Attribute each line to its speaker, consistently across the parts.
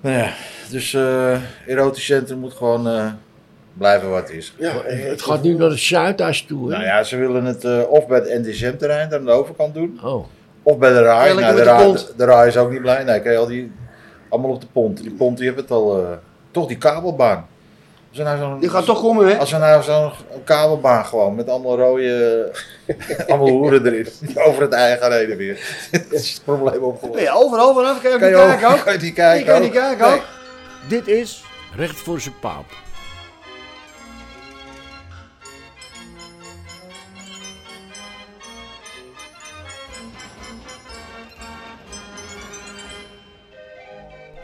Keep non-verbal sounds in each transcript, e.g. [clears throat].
Speaker 1: Nou ja, dus eh erotisch centrum moet gewoon eh, blijven wat het is.
Speaker 2: Ja, het gaat nu naar het Zuidas toe. Hè?
Speaker 1: Nou ja, ze willen het eh, of bij het NDSM-terrein aan de overkant doen,
Speaker 2: Oh,
Speaker 1: of bij de RAI.
Speaker 3: Ja, lekker
Speaker 1: Nou, de,
Speaker 3: met de
Speaker 1: RAI
Speaker 3: pont.
Speaker 1: de, de RAI is ook niet blij. Nee, kijk, al die, allemaal op de pont. Die pont, die hebben het al. eh, toch die kabelbaan. Als er nou zo'n-
Speaker 3: Die gaat toch komen, hè?
Speaker 1: Als we nou zo'n kabelbaan gewoon met allemaal
Speaker 3: [laughs]
Speaker 1: rode. allemaal hoeren erin. die Over het eigen reden weer. [laughs] Dat is het probleem opgelost.
Speaker 3: Nee, overal vanaf kan je
Speaker 1: Kan je
Speaker 3: ook niet kijken
Speaker 1: ook-
Speaker 3: ook.
Speaker 1: kan je die
Speaker 3: Je
Speaker 1: kijken
Speaker 3: kan niet
Speaker 1: ook.
Speaker 3: kijken ook.
Speaker 2: dit is Recht voor zijn paap.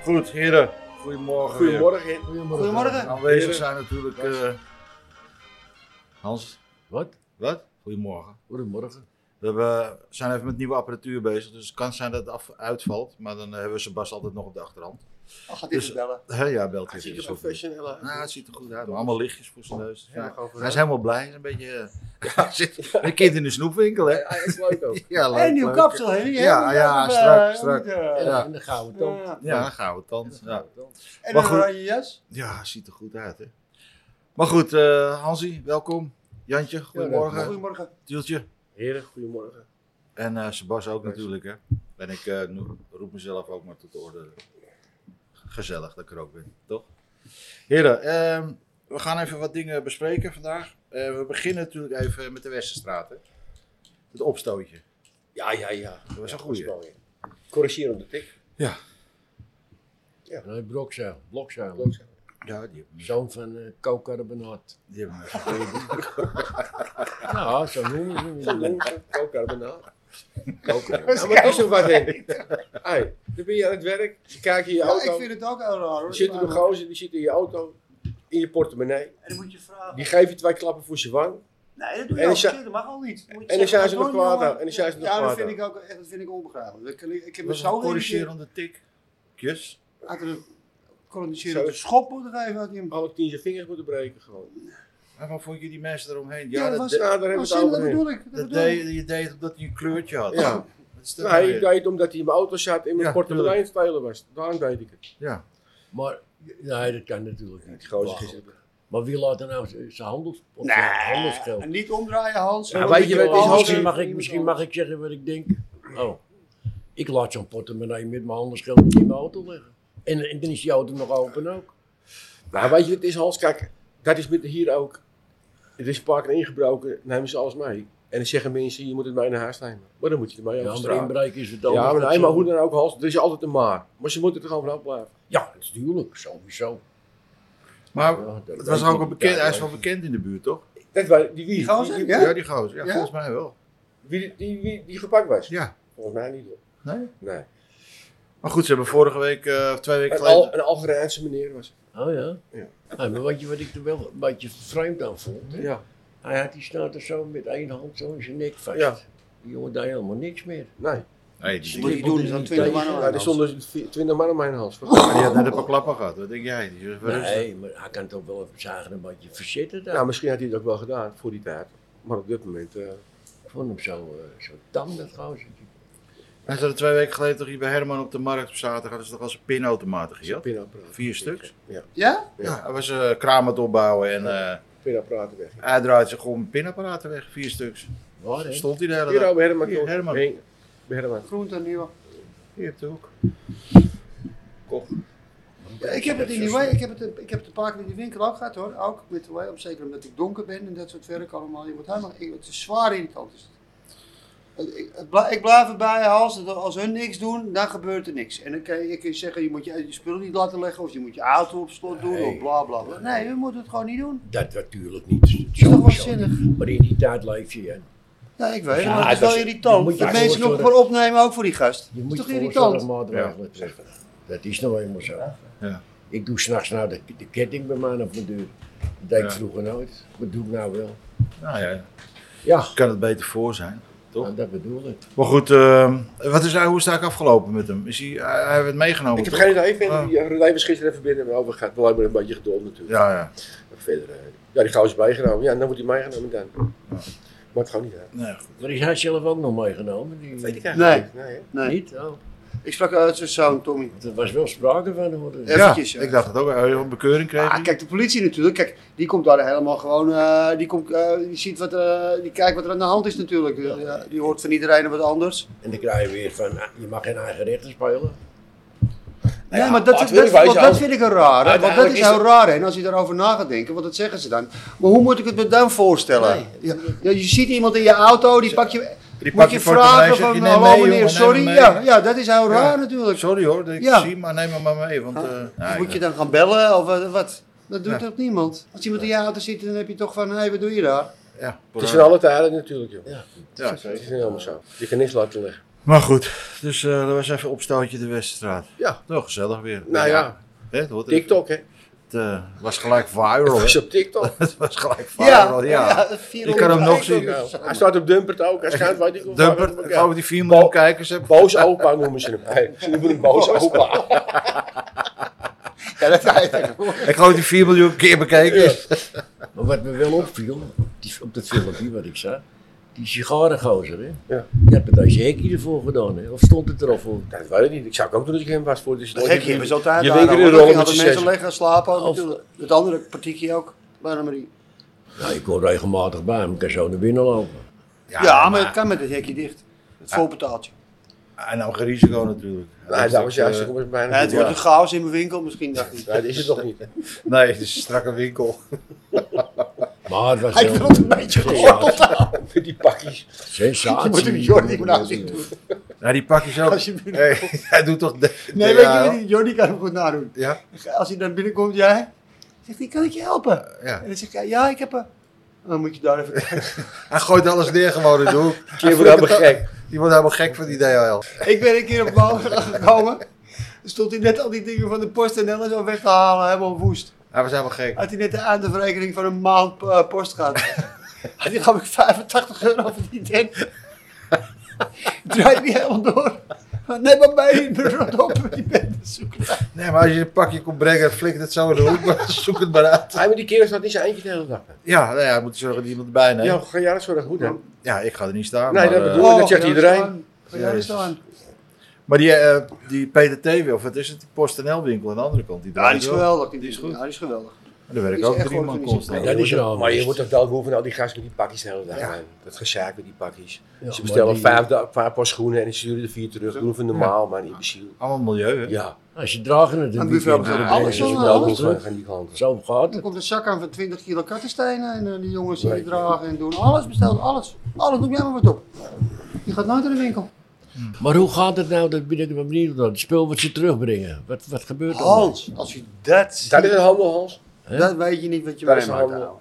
Speaker 1: Goed, heren. Goedemorgen. weer.
Speaker 3: Goedemorgen.
Speaker 2: Goedemorgen.
Speaker 3: Goedemorgen.
Speaker 1: Aanwezig zijn natuurlijk. eh, Hans,
Speaker 2: Wat?
Speaker 1: wat? Goedemorgen.
Speaker 2: Goedemorgen.
Speaker 1: We hebben, zijn even met nieuwe apparatuur bezig, dus het kan zijn dat het af, uitvalt. Maar dan eh, hebben we zijn Bas altijd nog op de achterhand.
Speaker 3: Oh, gaat dit
Speaker 1: Dus-
Speaker 3: eens bellen.
Speaker 1: Hé, ja, belt
Speaker 3: Hij
Speaker 1: weer.
Speaker 3: ziet er
Speaker 1: Is goed.
Speaker 3: professioneel uit.
Speaker 1: Nou, het ziet er goed uit. Allemaal lichtjes voor zijn neus.
Speaker 3: Ja,
Speaker 1: Ja,
Speaker 3: overal.
Speaker 1: hij is helemaal blij. Hij is een beetje.
Speaker 3: [laughs]
Speaker 1: eh, hij [laughs] zit, een kind in de snoepwinkel, hè?
Speaker 2: Ja, is leuk [laughs] ook.
Speaker 1: [laughs] Ja, leuk,
Speaker 3: En nieuw
Speaker 1: leuk.
Speaker 3: kapsel, Henry. hè?
Speaker 1: Ja,
Speaker 3: Moet je
Speaker 1: ja,
Speaker 3: ook, eh,
Speaker 1: strak,
Speaker 3: moet,
Speaker 1: strak.
Speaker 3: eh,
Speaker 1: Ja.
Speaker 2: En dan gaan we dan.
Speaker 3: ja.
Speaker 1: Ja, gouden tand. Ja.
Speaker 3: En
Speaker 1: Maar
Speaker 3: een
Speaker 1: goed.
Speaker 3: oranje jas.
Speaker 1: ja, ziet er goed uit, hè? Maar goed, eh Hansie, welkom. Jantje, goedemorgen.
Speaker 3: Goedemorgen.
Speaker 1: Tieltje.
Speaker 2: Heren, goedemorgen.
Speaker 1: En eh Sebas ook natuurlijk, hè? En ik eh, no- roep mezelf ook maar tot de orde. Gezellig dat ik er ook ben, toch? Heren, ehm, we gaan even wat dingen bespreken vandaag. Eh, we beginnen natuurlijk even met de Westerstraat, hè? Het opstootje.
Speaker 3: Ja, ja, ja.
Speaker 1: Dat was een goeie.
Speaker 3: mooi. Corrigerende tik.
Speaker 2: Nee, blokzeil. Blokzeil.
Speaker 1: Ja, die hebben
Speaker 2: Zoon van uh, kookcarbonaat.
Speaker 1: die hebben me
Speaker 2: Nou, zo noemen ze hem.
Speaker 4: Kookcarbonaat. Ja, maar toch zo wat in. Hey, dan ben je aan het werk, ze kijken in je
Speaker 3: Ja, ik
Speaker 4: auto.
Speaker 3: vind het ook heel raar.
Speaker 4: Er
Speaker 3: hoor.
Speaker 4: zit er een
Speaker 3: Maar-
Speaker 4: gozer, die zit in je auto, in je portemonnee.
Speaker 3: En dan moet je vragen.
Speaker 4: Die geeft je twee klappen voor zijn wang.
Speaker 3: Nee, dat doe
Speaker 4: En
Speaker 3: je
Speaker 4: dan
Speaker 3: ook
Speaker 4: zei-
Speaker 3: verkeerd, dat mag al niet. Moet je
Speaker 4: en dan
Speaker 3: zeggen,
Speaker 4: zei ze
Speaker 3: dat
Speaker 4: nog
Speaker 3: doen,
Speaker 4: kwaad
Speaker 3: jongen.
Speaker 4: aan, en dan zei ze nog
Speaker 3: Ja, dat
Speaker 4: kwaad
Speaker 3: vind
Speaker 4: aan.
Speaker 3: ik ook echt- dat vind ik onbegrijpelijk. Dat kan Ik ik heb me
Speaker 1: was
Speaker 3: zo
Speaker 1: een
Speaker 3: geïrriteerd
Speaker 1: corrigerende tik. Kus.
Speaker 3: uit een
Speaker 4: Zo.
Speaker 3: corrigerende schop moeten geven uit iemand.
Speaker 4: Alle tien zijn vingers moeten breken gewoon.
Speaker 1: En wat vond je die mensen eromheen?
Speaker 3: Ja,
Speaker 1: Ja,
Speaker 3: dat
Speaker 1: dat,
Speaker 3: was-
Speaker 1: de-
Speaker 4: Nou, daar
Speaker 3: Oh,
Speaker 4: hebben we
Speaker 3: zie je,
Speaker 4: het
Speaker 3: dat
Speaker 4: over. in.
Speaker 3: bedoel ik. Dat
Speaker 1: dat
Speaker 3: bedoel ik.
Speaker 1: deed, je deed omdat hij een kleurtje had.
Speaker 4: Ja.
Speaker 1: Dat is toch
Speaker 4: Nee,
Speaker 1: weer-
Speaker 4: ik deed het omdat Nou, hij in mijn auto zat en mijn
Speaker 1: Ja,
Speaker 4: portemonnee aan het stelen was. Daarom deed ik het.
Speaker 1: ja.
Speaker 2: Maar, nee, dat kan natuurlijk niet.
Speaker 4: Die gozer
Speaker 2: Belachelijk.
Speaker 4: is-
Speaker 2: Maar wie laat er nou z- zijn handels, op
Speaker 3: Nee,
Speaker 2: zijn handelsgeld?
Speaker 3: en niet omdraaien, Hans.
Speaker 4: Ja, weet je wat het is,
Speaker 2: Oh,
Speaker 4: Hans?
Speaker 2: misschien, mag ik, misschien mag ik zeggen wat ik denk. Oh, ik laat zo'n portemonnee met mijn handelsgeld niet in mijn auto liggen. En, en dan is die auto nog open ook.
Speaker 4: Nou, weet je, het is Hans, kijk, dat is met hier ook. Het is een paar keer ingebroken, nemen ze alles mee. En dan zeggen mensen, je moet het mee naar huis nemen. Maar dan moet je het mee
Speaker 2: Ja,
Speaker 4: over
Speaker 2: maar
Speaker 4: straat.
Speaker 2: inbreken is het
Speaker 4: Ja,
Speaker 2: ook.
Speaker 4: maar, nee, maar hoe dan ook, Hans, er is altijd een maar. Maar ze moeten er gewoon vanaf blijven.
Speaker 2: Ja, natuurlijk, sowieso.
Speaker 1: Maar
Speaker 2: Ja, dat
Speaker 1: het
Speaker 2: weet
Speaker 1: was ook
Speaker 2: ik
Speaker 1: een
Speaker 2: niet.
Speaker 1: bekend,
Speaker 2: Ja,
Speaker 1: hij is
Speaker 2: ja.
Speaker 1: wel bekend in de buurt, toch?
Speaker 4: Dat wij, die wie?
Speaker 3: Die gozer,
Speaker 4: Die,
Speaker 3: ja?
Speaker 1: Ja, die gozer. Ja,
Speaker 3: Ja?
Speaker 1: volgens mij wel.
Speaker 4: wie, die, die, wie- die gepakt was?
Speaker 1: Ja.
Speaker 4: Volgens mij niet. hoor.
Speaker 1: Nee?
Speaker 4: Nee.
Speaker 1: Maar goed, ze hebben vorige week, eh, of twee weken
Speaker 4: Een,
Speaker 1: geleden...
Speaker 4: Al, een Algerijnse meneer was het.
Speaker 2: Oh ja?
Speaker 4: Ja.
Speaker 2: Hey, maar wat, je, wat ik er wel een beetje vreemd aan vond, hè?
Speaker 4: Ja.
Speaker 2: hij had die staat er zo met één hand zo in zijn nek vast.
Speaker 4: Ja.
Speaker 2: Die jongen deed helemaal niks meer.
Speaker 4: Nee.
Speaker 1: Nee, die,
Speaker 3: Moet
Speaker 1: die,
Speaker 3: je doen, dan
Speaker 2: niet
Speaker 3: 20 man
Speaker 2: tegen.
Speaker 4: Ja, er
Speaker 3: aan.
Speaker 4: stonden 20 man aan mijn Hans.
Speaker 1: die had net een paar klappen gehad. Wat denk jij? Die is wel rustig.
Speaker 2: Nee, maar hij kan toch wel even zagen een beetje verzitten daar.
Speaker 4: Nou, misschien had hij dat ook wel gedaan voor die tijd. Maar op dit moment. eh,
Speaker 2: Ik vond hem zo, eh, zo tam, dat gozer.
Speaker 1: Hij zat er twee weken geleden toch hier bij Herman op de markt op zaterdag. Hadden ze toch als een pinautomaten gejat?
Speaker 4: pinapparaat.
Speaker 1: Vier stuks.
Speaker 3: Ja?
Speaker 1: Ja, hij was eh kraam aan het opbouwen en eh
Speaker 4: Pinapparaten weg.
Speaker 1: hij draait zich gewoon pinapparaten weg. Vier stuks.
Speaker 2: Waar, hè?
Speaker 1: Stond hij de hele
Speaker 4: Hier,
Speaker 1: dag.
Speaker 4: oh, Herman.
Speaker 1: Hier,
Speaker 4: toch?
Speaker 1: Herman.
Speaker 4: Heen. Herman.
Speaker 3: Groente en nieuwe.
Speaker 1: Hier op de hoek.
Speaker 3: Ja, ik heb het in die way, ik heb het, ik heb het een paar keer in die winkel ook gehad hoor. Ook met de way, om- zeker omdat ik donker ben en dat soort werk allemaal. Je moet helemaal, ik, het is zwaar irritant. Is het. Ik, het bla- ik blijf erbij, als, als hun niks doen, dan gebeurt er niks. En dan kan je, je kan zeggen, je moet je, je spullen niet laten leggen of je moet je auto op slot doen
Speaker 2: Nee.
Speaker 3: of bla bla bla. Nee, je moet het gewoon niet doen.
Speaker 2: Dat natuurlijk niet.
Speaker 3: is toch wel
Speaker 2: Sowieso
Speaker 3: zinnig?
Speaker 2: niet. Maar in die tijd leef je. hè.
Speaker 3: Ja, ik weet het,
Speaker 2: Ja,
Speaker 3: maar het is
Speaker 2: dat
Speaker 3: wel
Speaker 2: is-
Speaker 3: irritant.
Speaker 2: je moet je
Speaker 3: dat mensen nog
Speaker 2: voorzorgen.
Speaker 3: maar opnemen ook voor die gast.
Speaker 2: Je
Speaker 3: dat
Speaker 2: moet
Speaker 3: is toch
Speaker 2: je
Speaker 3: irritant?
Speaker 2: voorzorgsmaatregelen treffen. Dat is nou eenmaal zo.
Speaker 1: Ja.
Speaker 2: Ik doe s'nachts nou de, de ketting bij mij op mijn deur. Dat deed ik
Speaker 1: Ja.
Speaker 2: vroeger nooit. Dat doe ik nou wel.
Speaker 1: Nou ja,
Speaker 2: Ja,
Speaker 1: kan het beter voor zijn. Toch?
Speaker 2: nou, dat bedoel ik.
Speaker 1: Maar goed, eh, wat is, hij- hoe is het eigenlijk afgelopen met hem? Is hij, hij, hij werd meegenomen?
Speaker 4: Ik heb
Speaker 1: toch?
Speaker 4: geen idee. Ik vind
Speaker 1: Ah.
Speaker 4: die René was gisteren even binnen en over gaat. Wel maar een beetje geduld natuurlijk.
Speaker 1: Ja, ja.
Speaker 4: En Verder, eh, ja, die gozer is bijgenomen. Ja, dan wordt hij meegenomen dan. Maar het gaat niet uit.
Speaker 1: Nee, goed.
Speaker 2: Maar is hij zelf ook nog meegenomen? Die,
Speaker 4: Weet ik eigenlijk
Speaker 3: Nee.
Speaker 4: niet. Nee, hè?
Speaker 3: Nee.
Speaker 2: Niet? Oh.
Speaker 3: Ik sprak uit zijn zoon, Tommy.
Speaker 2: Er was wel sprake van hoor.
Speaker 3: Ja. Eventjes,
Speaker 1: ik dacht het ook. Hij een bekeuring kreeg.
Speaker 3: Ah,
Speaker 1: hij.
Speaker 3: kijk, de politie natuurlijk. Kijk, die komt daar helemaal gewoon. eh, die, komt, eh, die, ziet wat, er, die kijkt wat er aan de hand is natuurlijk. Ja, die hoort van iedereen wat anders.
Speaker 2: En dan krijg je weer van, ah, je mag geen eigen rechter spelen.
Speaker 3: Nee, maar dat,
Speaker 4: laten
Speaker 3: dat,
Speaker 4: we eerlijk
Speaker 3: want
Speaker 4: wezen,
Speaker 3: dat
Speaker 4: als-
Speaker 3: vind ik een raar. Want dat
Speaker 4: Uiteindelijk
Speaker 3: is
Speaker 4: is
Speaker 3: heel
Speaker 4: het-
Speaker 3: raar, hè, als je daarover na gaat denken. Want dat zeggen ze dan. Maar hoe moet ik het me dan voorstellen? ja, ja, je ziet iemand in je auto, die pak je...
Speaker 1: Die
Speaker 3: Moet je vragen
Speaker 1: zegt,
Speaker 3: van, eh,
Speaker 1: neem
Speaker 3: hallo
Speaker 1: mee,
Speaker 3: meneer,
Speaker 1: jongen, neem
Speaker 3: sorry.
Speaker 1: me mee.
Speaker 3: Ja, ja, dat is heel raar natuurlijk.
Speaker 1: Sorry hoor, dat ik
Speaker 3: Ja.
Speaker 1: zie, maar neem hem maar mee. Want, eh,
Speaker 3: Dus
Speaker 1: ja,
Speaker 3: moet je
Speaker 1: ik-
Speaker 3: dan gaan bellen of wat? wat? Dat doet
Speaker 1: Ja.
Speaker 3: toch niemand? Als iemand in je auto zit, dan heb je toch van, hé, wat doe je daar?
Speaker 1: ja,
Speaker 4: Het is in alle tijden natuurlijk, joh.
Speaker 1: ja,
Speaker 4: Het is
Speaker 1: zeker.
Speaker 4: niet helemaal zo. Je kan niks laten leggen.
Speaker 1: Maar goed, dus eh dat was even opstootje de Westerstraat.
Speaker 4: Ja.
Speaker 1: Wel gezellig weer.
Speaker 4: Nou ja,
Speaker 1: Hè, het hoort even.
Speaker 4: TikTok, hè.
Speaker 1: Het eh, was gelijk viral.
Speaker 4: Het
Speaker 3: [laughs]
Speaker 1: hè.
Speaker 4: is op TikTok.
Speaker 1: Het was gelijk viral, ja.
Speaker 3: Je
Speaker 1: kan hem nog zien.
Speaker 4: Nou, hij staat op Dumpert ook. Hij schijnt, [laughs] weet ik wel, waar we
Speaker 1: Dumpert,
Speaker 4: elkaar-
Speaker 1: over die 4 miljoen
Speaker 4: Bo-
Speaker 1: kijkers hebben.
Speaker 4: Boos opa noemen ze hem. Hey, Ze noemen hem boos opa.
Speaker 3: Ja, dat [laughs] hij
Speaker 1: Ik geloof die 4 miljoen keer bekeken is.
Speaker 2: Maar wat me wel opviel, die, op dat filmpje wat ik zag, die sigarengozer, hè?
Speaker 4: Ja.
Speaker 2: Die had met deze hekje ervoor gedaan, hè? Of stond het er al voor?
Speaker 4: Dat weet ik niet. Ik zou het ook doen als ik hem was voor. Dus nooit-
Speaker 3: Gek hier, we zaten daar.
Speaker 4: Je winkel in
Speaker 3: hoor.
Speaker 4: de rol
Speaker 3: Daar
Speaker 4: met
Speaker 3: hadden
Speaker 4: je
Speaker 3: mensen
Speaker 4: zes.
Speaker 3: liggen slapen ook
Speaker 2: Of-
Speaker 3: natuurlijk. Het andere partiekje ook, bijna Marie.
Speaker 2: Nou, ik kom regelmatig bij hem, ik kan zo naar binnen lopen.
Speaker 3: Ja, maar het kan met het hekje dicht. Het voorbetaaltje.
Speaker 1: Hij nam nou geen risico natuurlijk.
Speaker 4: Nou, dat was
Speaker 1: eh,
Speaker 4: juist. Ik was bijna
Speaker 3: Ja, het wordt
Speaker 4: ja.
Speaker 3: een chaos in mijn winkel misschien, dacht ik.
Speaker 4: Ja, dat is het toch [laughs] niet.
Speaker 1: Nee, het is een strakke winkel.
Speaker 2: Maar het was
Speaker 3: Hij
Speaker 2: wel
Speaker 3: wil het een beetje geworteld houden.
Speaker 4: Met die pakjes.
Speaker 2: sensatie.
Speaker 3: Je moet hem Jordi maar nadoen.
Speaker 1: Nou, die pak je zo.
Speaker 3: Als je binnen-
Speaker 1: Hey, [laughs] hij doet toch... de-
Speaker 3: Nee,
Speaker 1: de-
Speaker 3: weet
Speaker 1: ja,
Speaker 3: je niet, Jordi kan hem goed nadoen.
Speaker 1: Ja,
Speaker 3: Als hij dan binnenkomt, jij, zegt hij, kan ik je helpen?
Speaker 1: ja.
Speaker 3: En dan zegt hij, ja, ik heb een... Dan moet je daar even kijken.
Speaker 1: Hij gooit alles neer gewoon in de hoek.
Speaker 4: Keer voor helemaal gek.
Speaker 1: Die wordt helemaal gek van die DHL.
Speaker 3: Ik ben een keer op maandag gekomen. Er stond hij net al die dingen van de post en alles zo weg te halen, helemaal woest.
Speaker 1: Hij was helemaal gek.
Speaker 3: Had hij net de aandeelverrekening van een maand eh, post gehad. Had hij geloof ik 85 euro verdiend en... [laughs] Draait hij helemaal door. Neem maar mee, ik ben rot op, die bent te zoeken.
Speaker 1: Nee, maar als je een pakje komt brengen, flikkert het zo in de hoek. [laughs] Maar zoek het maar uit.
Speaker 4: Hij met die kerel staat niet zijn eindje de hele dag.
Speaker 1: Ja, nou ja, hij moet zorgen dat iemand erbij neemt.
Speaker 4: Ja,
Speaker 1: Ja.
Speaker 4: ga jij dat zorgen. Goed dan.
Speaker 1: ik ga er niet staan.
Speaker 4: Nee,
Speaker 1: maar,
Speaker 4: dat
Speaker 1: eh,
Speaker 4: bedoel- dat zegt
Speaker 3: ga jij
Speaker 4: iedereen.
Speaker 3: staan? Ga jij
Speaker 1: Jezus.
Speaker 3: staan?
Speaker 1: maar die, eh die PTT, of wat is het? Die PostNL-winkel aan de andere kant. Die
Speaker 3: Ja,
Speaker 1: draait
Speaker 3: die is
Speaker 1: wel.
Speaker 3: geweldig. Die,
Speaker 1: Die is
Speaker 3: is
Speaker 1: goed.
Speaker 3: Ja, die is geweldig.
Speaker 1: Daar werken
Speaker 3: Die is
Speaker 1: ook
Speaker 3: echt
Speaker 1: drie man
Speaker 3: georganiseerd.
Speaker 1: constant.
Speaker 2: Ja, die is
Speaker 4: Je moet
Speaker 2: wel
Speaker 4: toch- Maar je
Speaker 2: best.
Speaker 4: wordt toch wel hoeven van al die gasten met die pakjes de hele dag aan. Dat gezaak met die pakjes.
Speaker 2: Ja,
Speaker 4: ze
Speaker 2: maar
Speaker 4: bestellen
Speaker 2: die-
Speaker 4: vijf, da- vijf paar schoenen en ze sturen er vier terug. Doen we normaal, maar niet beziel.
Speaker 1: Allemaal milieu, hè?
Speaker 4: Ja,
Speaker 2: Als je dragen het
Speaker 3: Aan
Speaker 2: een
Speaker 3: de buffet
Speaker 2: weekend
Speaker 3: hebben ze
Speaker 2: door de
Speaker 3: alles
Speaker 4: dus
Speaker 2: benen,
Speaker 4: ik
Speaker 2: is
Speaker 3: jongen,
Speaker 2: het
Speaker 4: ben ook
Speaker 3: alles,
Speaker 4: niet
Speaker 2: wel
Speaker 4: van
Speaker 2: terug.
Speaker 4: van die klanten.
Speaker 2: Zo gaat
Speaker 3: Er
Speaker 2: het.
Speaker 3: komt een zak aan van 20 kilo kattenstenen en eh, die jongens die
Speaker 4: Nee.
Speaker 3: dragen en doen alles besteld, alles. Alles, noem jij maar wat op. Je gaat nooit naar de winkel.
Speaker 2: Maar hoe gaat het nou, dat ben ik me benieuwd naar. Het spul wat ze terugbrengen, wat, wat gebeurt er dan?
Speaker 3: Hans, als je dat ziet,
Speaker 4: Dat is een handel, Hans.
Speaker 3: dat weet je niet wat je
Speaker 4: Dat is
Speaker 3: meemaakt.
Speaker 4: allemaal-
Speaker 3: ouwe.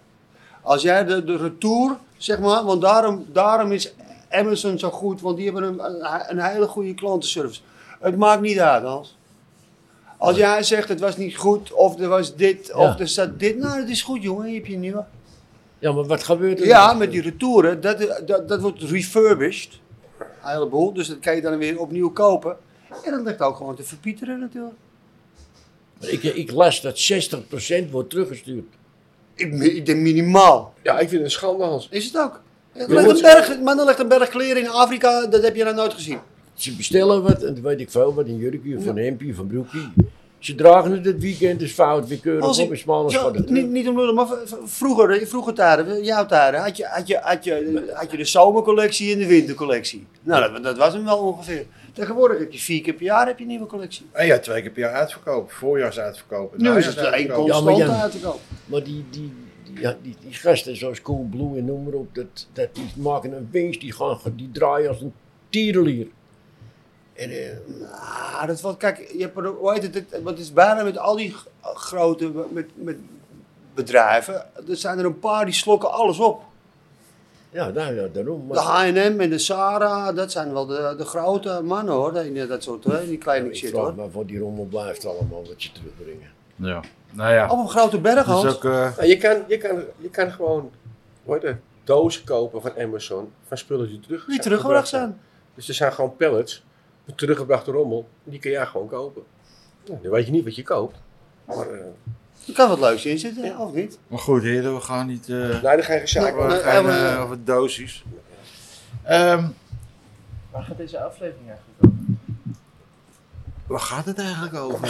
Speaker 3: Als jij de, de retour, zeg maar, want daarom, daarom is Amazon zo goed, want die hebben een, een, een hele goede klantenservice. Het maakt niet uit, Hans. Als jij zegt het was niet goed, of er was dit, of er staat dit, nou het is goed jongen, hier heb je een nieuwe.
Speaker 2: Ja, maar wat gebeurt er
Speaker 3: Ja,
Speaker 2: dan?
Speaker 3: met die retouren, dat, dat, dat wordt refurbished. Een heleboel, dus dat kan je dan weer opnieuw kopen. En dat ligt ook gewoon te verpieteren natuurlijk.
Speaker 2: Ik, ik las dat 60% wordt teruggestuurd.
Speaker 3: Ik, ik denk minimaal.
Speaker 4: Ja, ik vind het een schande, Hans.
Speaker 3: Is het ook. Er
Speaker 4: Je
Speaker 3: ligt
Speaker 4: moet-
Speaker 3: een berg, maar dan ligt een berg kleren in Afrika, dat heb je nog nooit gezien.
Speaker 2: Ze bestellen wat, en dan weet ik veel, wat een jurkje, of een hemdje, of een broekje. Ze dragen het het weekend, is fout, weer keurig
Speaker 3: Als
Speaker 2: op,
Speaker 3: ik-
Speaker 2: is smal,
Speaker 3: Ja, niet, niet om lullen, maar v- v- vroeger, in vroeger tijden, jouw tijden, had je, had, je, had, je, had je de zomercollectie en de wintercollectie. Nou, dat, dat was hem wel ongeveer. Tegenwoordig heb je vier keer per jaar heb je een nieuwe collectie.
Speaker 1: En ja, twee keer per jaar uitverkoop. Voorjaarsuitverkoop. en
Speaker 3: Nu is het één
Speaker 1: najaarsuitverkoop.
Speaker 3: constant
Speaker 2: Jan.
Speaker 3: uit te komen.
Speaker 2: Maar die, die, die, ja, die, die gasten zoals Coolblue en noem maar op, dat, dat, die maken een winst, die, gaan, die draaien als een tierenlier. En, eh,
Speaker 3: Ah, dat valt, kijk, je hebt er, hoe heet het, het, want het is bijna met al die g- grote met, met bedrijven, er zijn er een paar die slokken alles op.
Speaker 2: ja, nou ja, daarom.
Speaker 3: De
Speaker 2: Maar,
Speaker 3: H&M en de Zara, dat zijn wel de, de grote mannen hoor, die, dat soort, hè, die kleine
Speaker 2: ik
Speaker 3: shit
Speaker 2: vraag
Speaker 3: hoor.
Speaker 2: me af wat die rommel blijft allemaal, wat ze terugbrengen.
Speaker 1: Ja. Nou ja.
Speaker 3: Op een grote berg,
Speaker 1: Dat is
Speaker 3: Hans.
Speaker 1: ook... eh,
Speaker 4: Nou, je, kan, je, kan, je kan gewoon hoe heet het, dozen kopen van Amazon van spullen die terug
Speaker 3: Die teruggebracht zijn.
Speaker 4: Dus er zijn gewoon pallets met teruggebrachte rommel. en Die kun jij gewoon kopen. Nou, dan weet je niet wat je koopt. Maar, eh
Speaker 3: Er kan wat leuks in zitten, of niet?
Speaker 1: Maar goed, heren, we gaan niet... eh,
Speaker 4: nee, dat ga je zaak
Speaker 1: we
Speaker 3: Nou,
Speaker 1: gaan,
Speaker 3: eh,
Speaker 1: eh, over dosis. Ehm,
Speaker 5: Waar gaat deze aflevering eigenlijk over?
Speaker 1: Waar gaat het eigenlijk over?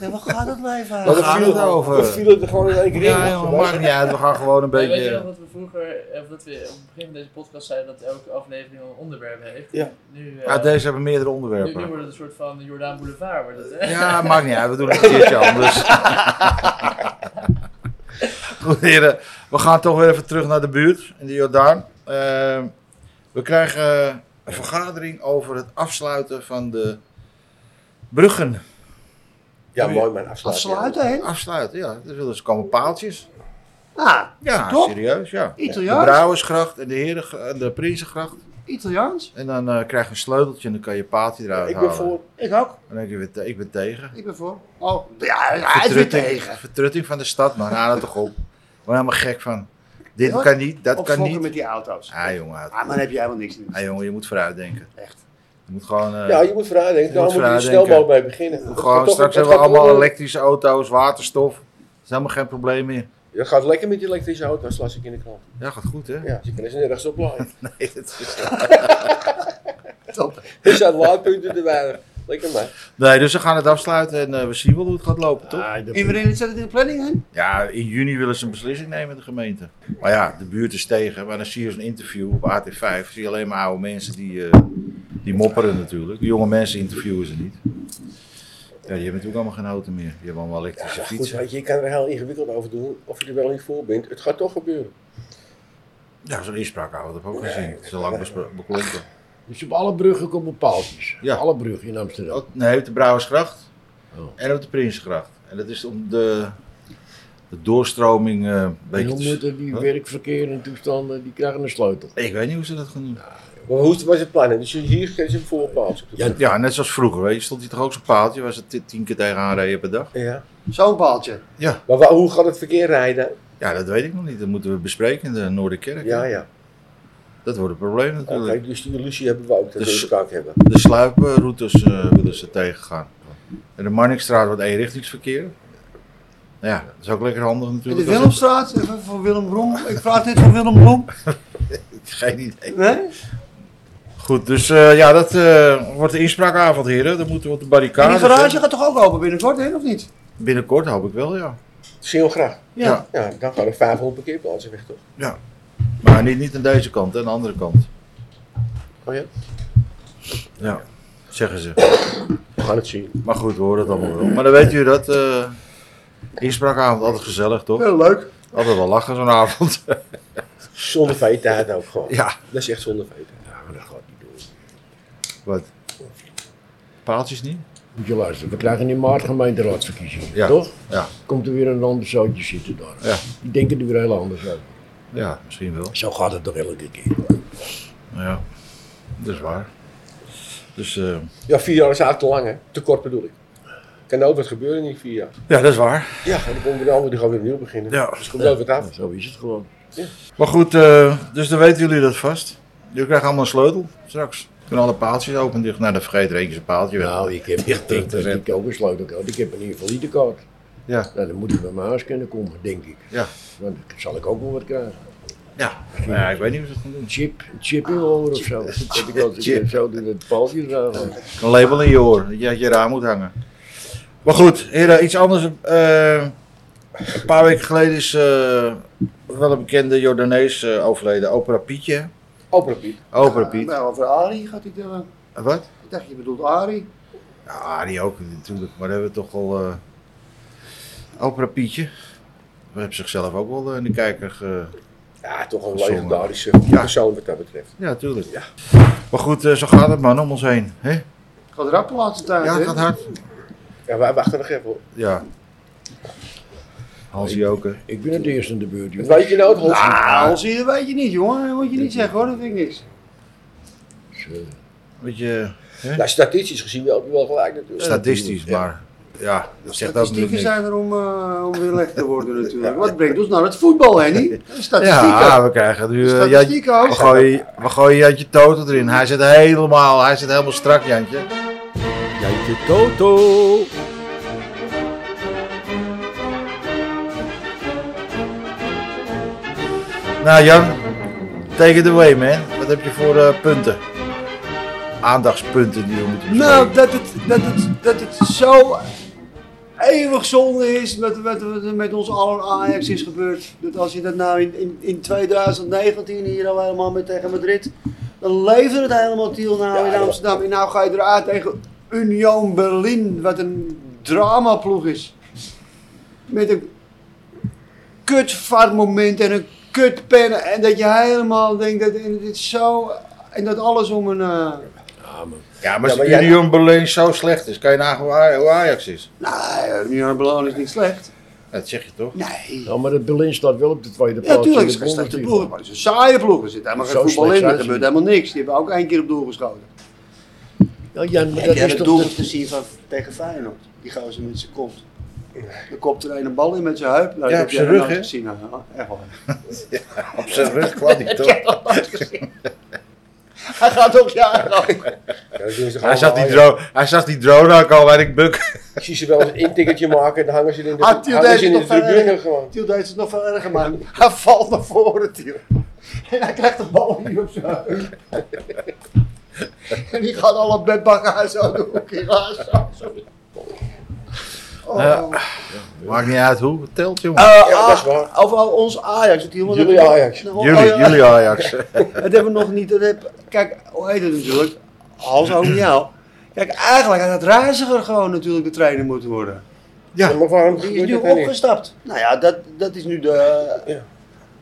Speaker 3: Ja, waar gaat het leven
Speaker 1: Waar
Speaker 4: we
Speaker 1: gaat
Speaker 4: vielen-
Speaker 1: het over?
Speaker 4: We vielen er gewoon in één keer in.
Speaker 1: Ja, jongen, maakt niet uit. We gaan gewoon een
Speaker 5: Maar Weet je nog
Speaker 1: beetje...
Speaker 5: dat we vroeger, eh, of dat we op het begin van deze podcast zeiden dat elke aflevering een onderwerp heeft?
Speaker 4: Ja.
Speaker 5: Nu, eh,
Speaker 1: Ja, deze hebben meerdere
Speaker 5: nu, nu
Speaker 1: onderwerpen.
Speaker 5: wordt het een soort van Jordaan Boulevard,
Speaker 1: [laughs]
Speaker 5: wordt het, hè?
Speaker 1: Ja, maakt niet uit. We doen het een keertje anders. [laughs] Goed, heren. We gaan toch weer even terug naar de buurt in de Jordaan. Eh, we krijgen eh, een vergadering over het afsluiten van de bruggen.
Speaker 4: Ja, mooi, mijn afsluiting.
Speaker 3: Afsluiten, hè?
Speaker 1: Afsluiten, ja. Er zullen dus komen paaltjes.
Speaker 3: Ah,
Speaker 1: Ja,
Speaker 3: Top.
Speaker 1: serieus, ja. De
Speaker 3: Italiaans?
Speaker 1: Brouwersgracht en de, heren, en de Prinsengracht.
Speaker 3: Italiaans?
Speaker 1: En dan eh, krijg je een sleuteltje en dan kan je paaltje eruit
Speaker 4: Ik ben
Speaker 1: halen.
Speaker 4: voor.
Speaker 3: Ik ook.
Speaker 1: En dan denk je, weer te- ik ben tegen.
Speaker 3: Ik ben voor. Oh, ja, hij is weer tegen.
Speaker 1: vertrutting van de stad, man. Haal het toch op. Ik ben helemaal gek van. Dit
Speaker 3: Ja,
Speaker 1: kan niet, dat
Speaker 3: Of
Speaker 1: kan
Speaker 3: fokken
Speaker 1: niet.
Speaker 3: met die auto's.
Speaker 1: Ah, jongen. uit.
Speaker 3: Ah, maar dan heb je helemaal niks in.
Speaker 1: Ah, jongen, je moet vooruit denken.
Speaker 3: Echt.
Speaker 1: Je moet gewoon... eh,
Speaker 4: Ja, je moet vooruit denken.
Speaker 1: Je
Speaker 4: Daar
Speaker 1: moet
Speaker 4: moet je er
Speaker 1: vooruit
Speaker 4: snel
Speaker 1: denken.
Speaker 4: mogelijk mee beginnen. Dat gaat
Speaker 1: gewoon
Speaker 4: toch-
Speaker 1: straks
Speaker 4: dat
Speaker 1: hebben we
Speaker 4: gaat
Speaker 1: allemaal
Speaker 4: door.
Speaker 1: elektrische auto's, waterstof. Dat is helemaal geen probleem meer.
Speaker 4: Dat gaat lekker met die elektrische auto's, las ik in de krant.
Speaker 1: Ja, gaat goed,
Speaker 3: [laughs]
Speaker 1: hè?
Speaker 4: Ja, dus ze kunnen ze nergens op laden.
Speaker 1: Nee, dat is-
Speaker 4: Er zijn laadpunten te weinig. Lekker man.
Speaker 1: nee, dus we gaan het afsluiten en eh, we zien wel hoe het gaat lopen, toch?
Speaker 2: Ah, dat-
Speaker 3: En wanneer zit het in de planning in?
Speaker 1: Ja, in juni willen ze een beslissing nemen in de gemeente. Maar ja, de buurt is tegen. Maar dan zie je zo'n interview op AT5. Zie je alleen maar oude mensen die, eh, die mopperen natuurlijk. De jonge mensen interviewen ze niet. Ja, die hebben natuurlijk allemaal geen auto meer. Die hebben allemaal elektrische
Speaker 4: Ja, goed,
Speaker 1: fietsen.
Speaker 4: weet je, je kan er heel ingewikkeld over doen. Of je er wel niet voor bent. Het gaat toch gebeuren.
Speaker 1: Ja, zo'n inspraak houden heb ik ook gezien. Het is al lang bespro- beklonken.
Speaker 2: Dus op alle bruggen komen paaltjes.
Speaker 1: Ja.
Speaker 2: Alle bruggen in Amsterdam.
Speaker 1: Ook- Nee, op de Brouwersgracht
Speaker 2: Oh.
Speaker 1: en op de Prinsengracht. En dat is om de, de doorstroming eh, een
Speaker 2: En
Speaker 1: beetje
Speaker 2: hoe
Speaker 1: te-
Speaker 2: moeten die
Speaker 1: Huh?
Speaker 2: werkverkeer en toestanden, die krijgen een sleutel.
Speaker 1: Ik weet niet hoe ze dat gaan doen.
Speaker 4: Maar hoe was het plannen? Dus hier geven ze een voorpaals.
Speaker 2: Ja.
Speaker 1: Ja, net zoals vroeger. Weet je, stond hier toch ook zo'n paaltje waar ze ti- tien keer tegenaan reden per dag.
Speaker 4: ja.
Speaker 3: Zo'n paaltje.
Speaker 4: Maar wa- hoe gaat het verkeer rijden?
Speaker 1: Ja, dat weet ik nog niet. Dat moeten we bespreken in de Noorderkerk.
Speaker 4: Ja, ja.
Speaker 1: Dat wordt een probleem
Speaker 4: Oké,
Speaker 1: natuurlijk.
Speaker 4: dus die illusie hebben we ook. Dat
Speaker 1: Dus-
Speaker 4: we een kaak hebben.
Speaker 1: De sluiproutes eh, willen ze tegengaan. En de Marnixstraat wordt eenrichtingsverkeer. Nou Ja, dat is ook lekker handig
Speaker 3: In de
Speaker 1: natuurlijk. als het-
Speaker 3: Willemstraat, even voor Willem Brom. Ik vraag dit van Willem Brom.
Speaker 1: [laughs] Geen idee.
Speaker 3: Nee?
Speaker 1: Goed, dus eh, ja, dat eh, wordt de inspraakavond, heren. Dan moeten we op de
Speaker 3: En
Speaker 1: barricade.
Speaker 3: die garage gaat toch ook open binnenkort, hè? Of niet?
Speaker 1: Binnenkort hoop ik wel, ja.
Speaker 4: Sneeuwgracht.
Speaker 1: Ja.
Speaker 4: Ja. ja, dan gaan er 500 parkeerplaatsen weg toch?
Speaker 1: Maar niet, niet aan deze kant, hè, aan de andere kant.
Speaker 4: Oh ja?
Speaker 1: Ja, zeggen ze.
Speaker 4: We gaan het zien.
Speaker 1: Maar goed, we horen het allemaal wel. Maar dan weet u dat. eh, inspraakavond, altijd gezellig, toch?
Speaker 3: Heel leuk.
Speaker 1: Altijd wel lachen zo'n avond. [laughs]
Speaker 4: Zonder feiten ook gewoon.
Speaker 1: ja.
Speaker 4: Dat is echt zonder feiten.
Speaker 2: Ja, maar dat gaat niet door.
Speaker 1: Wat? Paaltjes niet?
Speaker 2: Moet je luisteren, we krijgen in maart gemeenteraadsverkiezingen,
Speaker 1: Ja,
Speaker 2: toch?
Speaker 1: ja.
Speaker 2: Komt er weer een ander zootje zitten daar.
Speaker 1: Ja.
Speaker 2: Die denken er weer heel anders over.
Speaker 1: Ja, misschien wel. Nou
Speaker 2: Zo gaat het toch elke keer.
Speaker 1: Ja, dat is waar. Dus, eh,
Speaker 4: Ja, vier jaar is eigenlijk te lang hè. Te kort bedoel ik. Kan ook wat gebeuren in die vier jaar.
Speaker 1: ja, dat is waar.
Speaker 4: Ja, en dan komen we de andere, die gaan weer opnieuw beginnen.
Speaker 1: Ja.
Speaker 4: Dus komt ook wat af.
Speaker 2: Zo is het gewoon.
Speaker 1: Maar goed, eh, dus dan weten jullie dat vast. Jullie krijgen allemaal een sleutel straks. Kunnen alle paaltjes open en dicht. Nou, dan vergeet er eentje zijn paaltje weg.
Speaker 2: Nou, ik heb ik denk dat ik ook een sleutelkaart. Ik heb een invalidekaart.
Speaker 1: Ja.
Speaker 2: Nou, dan moet ik bij mijn huis kunnen komen, denk ik.
Speaker 1: Ja.
Speaker 2: Want dan zal ik ook wel wat krijgen.
Speaker 1: Ja. Nou ja, ik weet niet hoe ze het gaan doen.
Speaker 2: Een chip, een chip in mijn oor of zo. Dat ik als ik
Speaker 1: Chip.
Speaker 2: zo door het paaltje zou gaan.
Speaker 1: Een label in je oor, dat je uit je raam moet hangen. Maar goed, heren, iets anders. eh, een paar weken geleden is eh, wel een bekende Jordanees eh, overleden, Opera Pietje.
Speaker 4: Opera Piet.
Speaker 1: Opera Piet.
Speaker 3: Nou, over Ari gaat hij dan.
Speaker 1: eh, Wat?
Speaker 3: Ik dacht, je bedoelt Ari.
Speaker 1: Ja, die ook natuurlijk, maar daar hebben we toch wel. eh Opera Pietje. We hebben zichzelf ook wel eh, in de kijker. ge-
Speaker 4: Ja, toch een
Speaker 1: Zongen.
Speaker 4: legendarische
Speaker 1: Ja.
Speaker 4: persoon wat dat betreft.
Speaker 1: Ja, tuurlijk.
Speaker 4: Ja.
Speaker 1: Maar goed, eh, zo gaat het man om ons heen. Hè?
Speaker 3: Gaat rap de laatste tijd,
Speaker 1: Ja,
Speaker 3: hè?
Speaker 1: het gaat hard.
Speaker 4: Ja, wij wachten nog even op.
Speaker 1: Ja. Hansie ook. hè.
Speaker 2: Ik ben het eerst in de beurt,
Speaker 4: Het
Speaker 2: jongen.
Speaker 4: weet je nou, het Hans?
Speaker 3: Nou, als je dat weet je niet, jongen. Dat moet je niet zeggen, hoor. Dat vind ik niks.
Speaker 2: Dus, eh,
Speaker 1: Weet je,
Speaker 4: Nou, statistisch gezien wel, wel gelijk natuurlijk.
Speaker 1: statistisch,
Speaker 2: ja.
Speaker 1: maar. Ja, dat zegt ook natuurlijk
Speaker 3: Statistieken
Speaker 1: niks.
Speaker 3: zijn er om, eh, om weer lekker te worden natuurlijk. Wat brengt ons naar het voetbal, Henny?
Speaker 1: [laughs]
Speaker 3: Statistieken.
Speaker 1: Ja, we krijgen nu. eh, Jantje-
Speaker 3: Statistieken ook.
Speaker 1: we gooien, we gooien Jantje Toto erin. Hij zit helemaal, hij zit helemaal strak, Jantje.
Speaker 4: Jantje Toto.
Speaker 1: Nou Jan, take it away man. Wat heb je voor eh, punten? Aandachtspunten die we moeten bespreken.
Speaker 3: Nou, dat het, dat het dat het zo eeuwig zonde is met, met, met, met ons allen Ajax is gebeurd. Dat als je dat nou in, in, in 2019 hier al helemaal met tegen Madrid, dan leefde het helemaal Tiel nou
Speaker 4: Ja,
Speaker 3: in
Speaker 4: ja.
Speaker 3: Amsterdam. En nou ga je eruit tegen Union Berlin, wat een dramaploeg is. Met een kut moment en een kut pennen. En dat je helemaal denkt, dat, en dit is zo... En dat alles om een... eh,
Speaker 2: Ja, man.
Speaker 1: Ja, maar als
Speaker 4: Ja,
Speaker 1: de
Speaker 4: maar jij-
Speaker 1: Union Berlin zo slecht is, kan je nagaan hoe Aj- hoe Ajax is.
Speaker 3: nou, Union Berlin is niet slecht.
Speaker 1: Dat zeg je toch?
Speaker 3: Nee.
Speaker 2: Ja, maar het Berlin staat wel op de tweede
Speaker 3: Ja,
Speaker 2: plaats.
Speaker 3: natuurlijk is
Speaker 2: in
Speaker 3: het
Speaker 2: de
Speaker 3: een slechte
Speaker 2: Bundesliga.
Speaker 3: ploeg, maar het is een saaie ploeg. Er zit helemaal
Speaker 2: Zo
Speaker 3: geen voetbal
Speaker 2: slecht
Speaker 3: in, er
Speaker 2: zijn ze
Speaker 3: gebeurt helemaal niks. Die hebben ook één keer op doel geschoten.
Speaker 2: Ja, Jan, maar
Speaker 3: Dat
Speaker 2: dat
Speaker 3: je hebt
Speaker 2: is
Speaker 3: het
Speaker 2: toch...
Speaker 3: doelpunt
Speaker 2: dat-
Speaker 3: gezien van, tegen Feyenoord. Die gozer met zijn kont. Dan kopt er een een bal in met zijn heup. Nou,
Speaker 1: Ja,
Speaker 3: dat
Speaker 1: op
Speaker 3: heb jij
Speaker 1: zijn
Speaker 3: nog
Speaker 1: rug,
Speaker 3: nooit
Speaker 1: hè?
Speaker 3: gezien. nou, Echt waar.
Speaker 1: Op zijn rug kwam hij toch?
Speaker 3: Hij gaat ook [laughs] jagen.
Speaker 1: Hij zag, die drone, hij zag die drone ook al, weet ik, buk.
Speaker 4: Ik zie ze wel eens een intikketje maken en dan hangen ze in de,
Speaker 3: Ah, Tiel
Speaker 4: hangen
Speaker 3: deed
Speaker 4: ze in
Speaker 3: het
Speaker 4: de
Speaker 3: nog verder.
Speaker 4: tribune gewoon.
Speaker 3: Tiel deed het nog veel erger, man. Hij valt naar voren, Tiel. En hij krijgt een bal hier op zijn heup. En die gaat alle bedbakken aan zo doen. Oké, ga ah, zo, zo. Oh.
Speaker 1: Maakt niet uit hoe, het telt jongen.
Speaker 3: Eh,
Speaker 4: Ja, dat is
Speaker 3: ah,
Speaker 4: waar.
Speaker 3: Over al ons Ajax. Het helemaal
Speaker 4: Jullie Ajax.
Speaker 3: Nou,
Speaker 1: jullie,
Speaker 3: oh ja,
Speaker 1: jullie Ajax.
Speaker 3: Het hebben we nog niet. dat heb- kijk, hoe heet het natuurlijk? Als ook jou. Kijk, eigenlijk had het reiziger gewoon natuurlijk de trainer moeten worden.
Speaker 1: Ja.
Speaker 4: Maar waarom
Speaker 3: Die is
Speaker 4: gebeurt
Speaker 3: nu
Speaker 4: dat dan niet?
Speaker 3: opgestapt. Nou ja, dat, dat is nu de.
Speaker 4: Ja.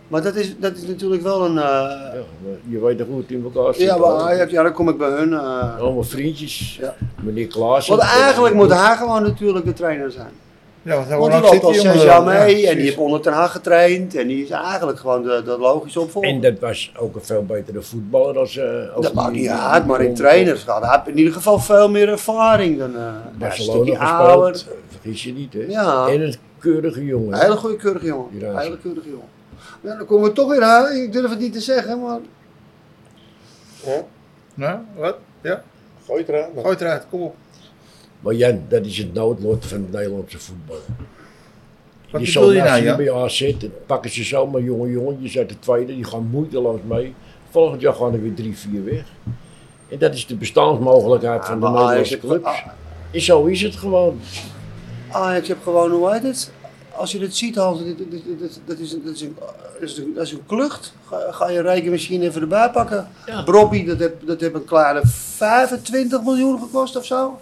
Speaker 3: Maar dat is, dat is natuurlijk wel een. eh,
Speaker 2: Ja, maar je weet toch hoe het in elkaar zit.
Speaker 3: ja, maar
Speaker 2: hoor.
Speaker 3: Ajax, ja, dan kom ik bij hun. eh.
Speaker 2: Allemaal vriendjes.
Speaker 3: Ja.
Speaker 2: Meneer Klaassen.
Speaker 3: Want eigenlijk moet hij gewoon natuurlijk de trainer zijn.
Speaker 1: Ja, want hoe
Speaker 3: Want die
Speaker 1: lang
Speaker 3: loopt
Speaker 1: zit
Speaker 3: al
Speaker 1: die
Speaker 3: zes
Speaker 1: jongen dan?
Speaker 3: jaar mee
Speaker 1: Ja,
Speaker 3: en die
Speaker 1: precies.
Speaker 3: heeft onder Ten Haag getraind. En die is eigenlijk gewoon de, de logische opvolger.
Speaker 2: En dat was ook een veel betere voetballer als... eh als
Speaker 3: Dat maakt
Speaker 2: die-
Speaker 3: niet uit, maar in
Speaker 2: die-
Speaker 3: trainers gaat. Hij heeft in ieder geval veel meer ervaring dan eh, een
Speaker 2: Barcelona
Speaker 3: stukje
Speaker 2: gespeeld.
Speaker 3: ouder.
Speaker 2: Vergis je niet, hè?
Speaker 3: Ja.
Speaker 2: En een keurige
Speaker 3: Een
Speaker 2: jongen.
Speaker 3: hele goede keurige
Speaker 2: Die
Speaker 3: jongen.
Speaker 2: razen.
Speaker 3: Hele keurige jongen. Ja, dan komen we toch weer aan. Ik durf het niet te zeggen, maar
Speaker 4: Ja,
Speaker 1: Nou, wat? Ja,
Speaker 4: gooi het eraan. man.
Speaker 1: gooi het eruit, kom op.
Speaker 2: Maar Jan, dat is het noodlot van het Nederlandse voetbal.
Speaker 1: Wat bedoel
Speaker 2: je zal
Speaker 1: je nou,
Speaker 2: naast je
Speaker 1: ja?
Speaker 2: bij AZ, dan pakken ze zomaar jonge jongetjes uit de tweede, die gaan moeiteloos mee. Volgend jaar gaan er weer drie, vier weg. En dat is de bestaansmogelijkheid van de
Speaker 3: maar Ah.
Speaker 2: Nederlandse
Speaker 3: Ajax-
Speaker 2: clubs. En zo is het gewoon.
Speaker 3: Ajax Ah, heb gewoon, hoe heet het? Als je dit ziet, Hans, dit, dit- dit- dit- dat, is, een- dat, is een, dat, is een, dat is een klucht. Ga, ga je rijke machine even erbij pakken.
Speaker 2: Ja.
Speaker 3: Brobby, dat heeft dat heb een klare 25 miljoen gekost of zo.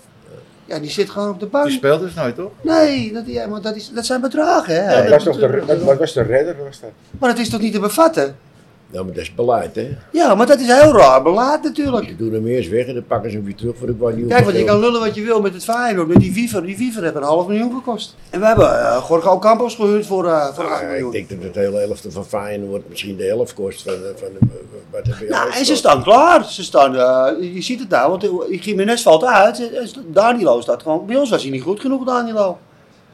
Speaker 3: Ja, die zit gewoon op de
Speaker 1: Die
Speaker 3: bank.
Speaker 1: speelt dus nooit, toch?
Speaker 3: Nee, dat, ja, maar dat, is, dat zijn bedragen, hè?
Speaker 4: Dat was toch de, dat, dat was de redder, was dat?
Speaker 3: Maar dat is toch niet te bevatten?
Speaker 2: Nou, maar dat is beleid, hè.
Speaker 3: Ja, maar dat is heel raar belaat natuurlijk.
Speaker 2: Je doet hem eerst weg en dan pakken ze hem weer terug voor de kwartier.
Speaker 3: Kijk, want je kan lullen wat je wil met het Feyenoord, met die Viver. Die Viver heeft een half miljoen gekost. En we hebben eh Gorgo Campos gehuurd voor, eh voor 8 miljoen.
Speaker 2: ik denk dat het hele helft van Feyenoord misschien de helft kost van, van, van wat heb je
Speaker 3: Nou,
Speaker 2: al
Speaker 3: en ze
Speaker 2: gekost?
Speaker 3: staan klaar. Ze staan, eh, je ziet het daar, want eh, Jiménez valt uit. Eh, eh, Danilo staat gewoon. Bij ons was hij niet goed genoeg, Danilo.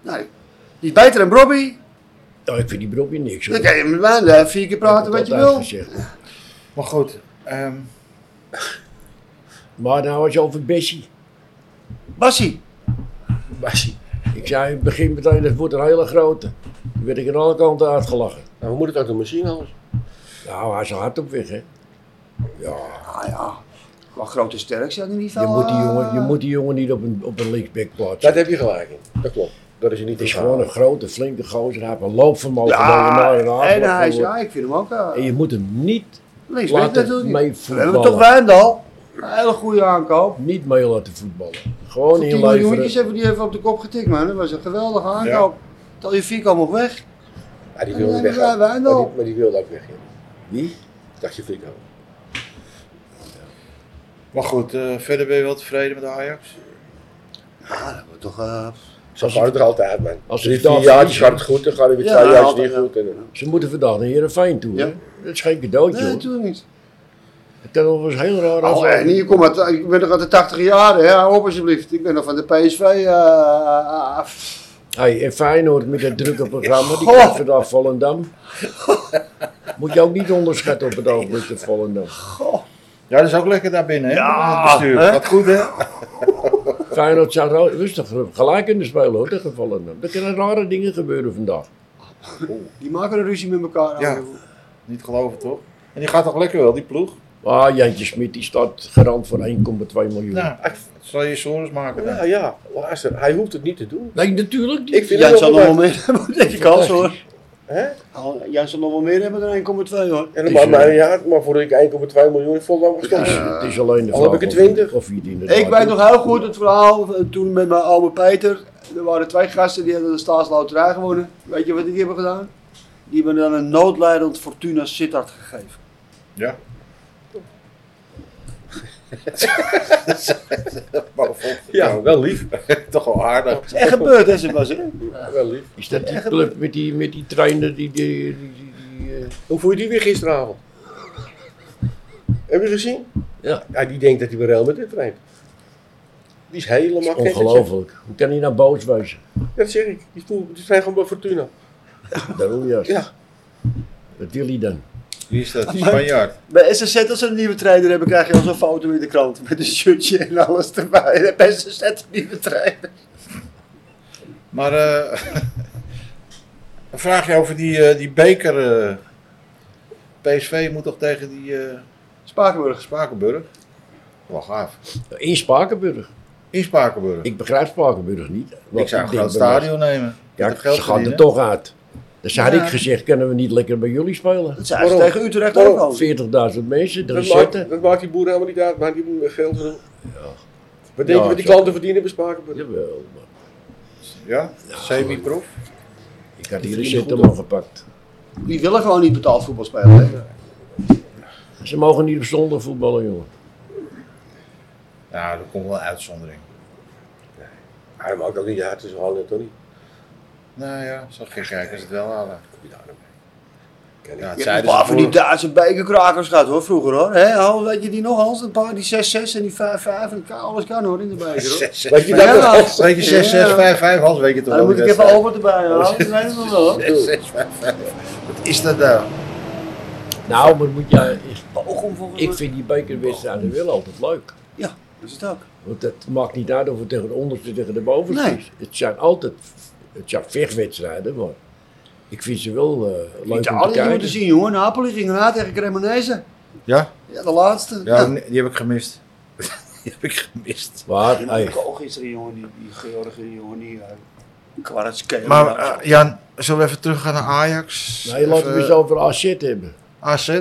Speaker 3: Nou, die is beter dan Robbie.
Speaker 2: Nou, ik vind die Brobby niks. hoor.
Speaker 3: Dan kan je met mij eh, vier keer praten
Speaker 2: Ik heb
Speaker 3: wat
Speaker 2: het
Speaker 3: je
Speaker 2: altijd
Speaker 3: wil.
Speaker 2: gezegd.
Speaker 1: Maar goed, ehm,
Speaker 2: Maar nou, als je over Bessie.
Speaker 3: Bassie.
Speaker 4: Bassie.
Speaker 2: Ik zei in het begin meteen, dat wordt een hele grote. Toen werd ik aan alle kanten uitgelachen.
Speaker 4: Nou, we moeten het uit de machine halen.
Speaker 2: Nou, hij is er hard op weg, hè. Ja,
Speaker 3: Ah ja, wel grote sterk zijn in ieder
Speaker 2: je
Speaker 3: geval.
Speaker 2: moet die
Speaker 3: eh,
Speaker 2: jongen, je moet die jongen niet op een, op een linksback plaatsen.
Speaker 4: Dat heb je gelijk in. Dat klopt. Dat is je niet
Speaker 2: Het is
Speaker 4: te
Speaker 2: gewoon een grote, flinke gozer. Hij heeft een loopvermogen.
Speaker 3: Ja,
Speaker 2: dat je naar een
Speaker 3: en
Speaker 2: aanval
Speaker 3: hij is,
Speaker 2: wordt.
Speaker 3: ja, ik vind hem ook. eh,
Speaker 2: en je moet hem niet,
Speaker 3: Links
Speaker 2: Laat
Speaker 3: weet
Speaker 2: het
Speaker 3: natuurlijk
Speaker 2: mee
Speaker 3: niet. We
Speaker 2: voetballen.
Speaker 3: hebben toch Wijndal. Een hele goede aankoop.
Speaker 2: niet mee laten voetballen. Gewoon
Speaker 3: Voor 10 miljoentjes
Speaker 2: inleveren.
Speaker 3: hebben we die even op de kop getikt, man. Dat was een geweldige aankoop. Tel je Fico nog weg.
Speaker 4: Ja, die wil niet
Speaker 3: Ja,
Speaker 4: weg.
Speaker 3: wij- wij
Speaker 4: Maar
Speaker 3: wel.
Speaker 4: die, maar die wilde ook weg. ja.
Speaker 2: Wie?
Speaker 4: Dacht je Fico.
Speaker 1: maar goed eh, verder ben je wel tevreden met Ajax?
Speaker 3: Ja, dat wordt toch... eh,
Speaker 4: Zo gaat het er altijd, man.
Speaker 2: als
Speaker 4: Drie,
Speaker 2: het daar
Speaker 4: vier jaar
Speaker 2: verliezen-
Speaker 4: gaat het goed, dan gaat het weer
Speaker 3: Ja,
Speaker 4: twee jaar
Speaker 3: altijd,
Speaker 4: niet
Speaker 3: ja.
Speaker 4: goed. En, dan-
Speaker 2: Ze moeten vandaag naar Heerenveen toe,
Speaker 3: Ja.
Speaker 2: hè. Dat is geen cadeautje,
Speaker 3: nee,
Speaker 2: hoor.
Speaker 3: natuurlijk niet.
Speaker 2: Dat was heel raar. af.
Speaker 3: Oh, en hier, kom maar, t- ik ben nog uit de 80 jaar, hè. Hou op alsjeblieft. Ik ben nog van de PSV. eh, eh, eh,
Speaker 2: Hey, en Feyenoord met dat drukke programma, die
Speaker 3: Goh.
Speaker 2: krijgt vandaag Volendam. Moet je ook niet onderschatten op het ogenblik de Volendam.
Speaker 1: Ja, dat is ook lekker daar binnen, hè?
Speaker 3: Ja,
Speaker 1: het bestuur.
Speaker 3: hè?
Speaker 1: Gaat goed, hè?
Speaker 2: Feyenoord zou ro- rustig gelijk kunnen spelen hoor, tegen Volendam. Er kunnen rare dingen gebeuren vandaag.
Speaker 3: die maken een ruzie met elkaar.
Speaker 1: Ja. Niet geloven, toch? En die gaat toch lekker wel, die ploeg?
Speaker 2: Ah, Jantje Smit die staat garant voor 1,2 miljoen.
Speaker 1: Nou, ik zal je zorgen maken.
Speaker 4: Ja,
Speaker 1: dan.
Speaker 4: ja, luister, hij hoeft het niet te doen.
Speaker 2: Nee, natuurlijk niet.
Speaker 4: Ik vind
Speaker 3: Jij
Speaker 4: het
Speaker 3: zal
Speaker 4: wel
Speaker 3: nog wel
Speaker 4: belangrijk.
Speaker 3: meer hebben dan je kans hoor.
Speaker 4: Hè?
Speaker 3: Al- Jij zal nog wel meer hebben dan 1,2 hoor.
Speaker 2: Het
Speaker 4: En dan
Speaker 2: is,
Speaker 4: maakt mij
Speaker 2: eh,
Speaker 4: niet uit, maar voordat ik 1,2 miljoen in Volendam
Speaker 2: Het
Speaker 4: gestort
Speaker 2: is,
Speaker 4: heb.
Speaker 2: het is alleen de
Speaker 4: Al
Speaker 2: vraag
Speaker 4: heb ik er
Speaker 2: of je-
Speaker 4: 20.
Speaker 2: Of je het inderdaad
Speaker 3: Ik weet
Speaker 2: doet.
Speaker 3: nog heel goed het verhaal eh, toen met mijn oude Peter. Er waren twee gasten die hadden de staatsloterij gewonnen. Weet je wat die hebben gedaan? Die hebben dan een noodlijdend Fortuna Sittard gegeven.
Speaker 1: Ja. maar vol-
Speaker 4: Ja, wel lief.
Speaker 1: nou? [laughs] toch wel aardig.
Speaker 3: Het is echt gebeurd hè Sebastian?
Speaker 4: Wel lief.
Speaker 2: Is dat die club met die, met die trainer die... die, die, die, die, eh,
Speaker 4: Hoe voel je die weer gisteravond? Heb je gezien?
Speaker 2: Ja.
Speaker 4: ja. Die denkt dat hij bij Real Madrid rijdt. Die is helemaal gek.
Speaker 2: ongelooflijk. Hoe kan hij nou boos wezen?
Speaker 4: Dat zeg ik. Die, voel, die zijn gewoon bij Fortuna.
Speaker 2: Daarom juist.
Speaker 4: Ja.
Speaker 2: Wat wil hij dan?
Speaker 1: Wie is dat? Die Spanjaard.
Speaker 3: Bij SSZ als ze een nieuwe trainer hebben krijg je al zo'n foto in de krant. Met een shirtje en alles erbij. [laughs] Bij SSZ een nieuwe trainer.
Speaker 1: Maar eh [laughs] een vraagje over die, eh, die beker. eh. PSV moet toch tegen die eh
Speaker 3: Spakenburg.
Speaker 1: Spakenburg? Wel gaaf.
Speaker 2: In Spakenburg.
Speaker 1: In Spakenburg. Ik,
Speaker 2: Ik begrijp Spakenburg niet. Want
Speaker 1: zou een
Speaker 2: denk
Speaker 1: groot
Speaker 2: bij mij-
Speaker 1: stadion nemen.
Speaker 2: Ja,
Speaker 1: Met het geld
Speaker 2: ze gaan er
Speaker 1: verdienen.
Speaker 2: toch uit. Dus had
Speaker 3: Ja.
Speaker 2: ik gezegd, kunnen we niet lekker bij jullie spelen?
Speaker 3: Dat zijn ze
Speaker 4: Waarom?
Speaker 3: tegen Utrecht
Speaker 4: Waarom?
Speaker 3: ook al.
Speaker 2: 40.000 mensen, er
Speaker 4: Dat maakt,
Speaker 2: zitten.
Speaker 4: dat maakt die boeren helemaal niet uit. Maakt die boeren geld genoeg. Wat
Speaker 2: Ja,
Speaker 4: denk je wat die
Speaker 2: zo.
Speaker 4: klanten verdienen bij Spakenburg?
Speaker 2: Jawel, maar
Speaker 1: Ja? Semi-prof?
Speaker 2: ik had hier een
Speaker 4: verdienen
Speaker 2: centrum gepakt.
Speaker 3: Die willen gewoon niet betaald voetbal spelen. hè.
Speaker 2: Ze mogen niet op zondag voetballen, jongen.
Speaker 1: Ja, er komt wel een uitzondering.
Speaker 4: Ja, dat maakt ook niet uit. Het is gewoon net toch niet.
Speaker 1: Nou ja, zo gek kijken ze het wel halen.
Speaker 4: Ja, dat nou ken
Speaker 1: Ja, het
Speaker 4: ik.
Speaker 3: Je hebt
Speaker 1: zeiden
Speaker 3: een paar
Speaker 1: ze
Speaker 3: van die
Speaker 1: voor-
Speaker 3: Duitse bekerkrakers gehad hoor, vroeger hoor. Hè, Hans, weet je die nog Hans? Een paar, die 6-6 en die 5-5 en kan- alles kan hoor in
Speaker 2: [laughs]
Speaker 3: de beker hoor.
Speaker 1: Zes, zes,
Speaker 4: Weet je
Speaker 1: vijf.
Speaker 4: dat [laughs] nog?
Speaker 3: Hans.
Speaker 1: Weet je, 6, 6,
Speaker 3: Ja.
Speaker 1: 5, 5, Hans, weet je toch
Speaker 3: Nou, dan moet ik even
Speaker 1: over.
Speaker 3: Albert erbij halen. Dat weet ik nog wel [laughs] hoor.
Speaker 1: 6, 6, 5, 5. Wat is dat nou?
Speaker 2: Nou, maar moet jij...
Speaker 3: Bochum volgens mij.
Speaker 2: Ik vind die bekerwedstrijden wel altijd leuk.
Speaker 3: Ja, dat is het ook.
Speaker 2: Want het maakt niet uit of het tegen de onderste tegen de bovenste
Speaker 3: Nee.
Speaker 2: is. Het zijn altijd het zijn vechtwedstrijden, maar ik vind ze wel eh, leuk om te
Speaker 3: Italië
Speaker 2: kijken.
Speaker 3: moeten zien jongen. Napoli ging na tegen Cremonese.
Speaker 1: Ja?
Speaker 3: Ja, de laatste.
Speaker 1: Ja, nee, die heb ik gemist. [laughs] die heb ik gemist.
Speaker 2: Maar,
Speaker 3: Die
Speaker 2: hey,
Speaker 3: heb ik ook gisteren, jongen, die, die Georgen, jongen, die uh, Kwaratskele.
Speaker 1: Maar eh, Jan, zullen we even teruggaan naar Ajax?
Speaker 2: nee, laten we
Speaker 1: Even
Speaker 2: eens over AZ hebben.
Speaker 1: AZ?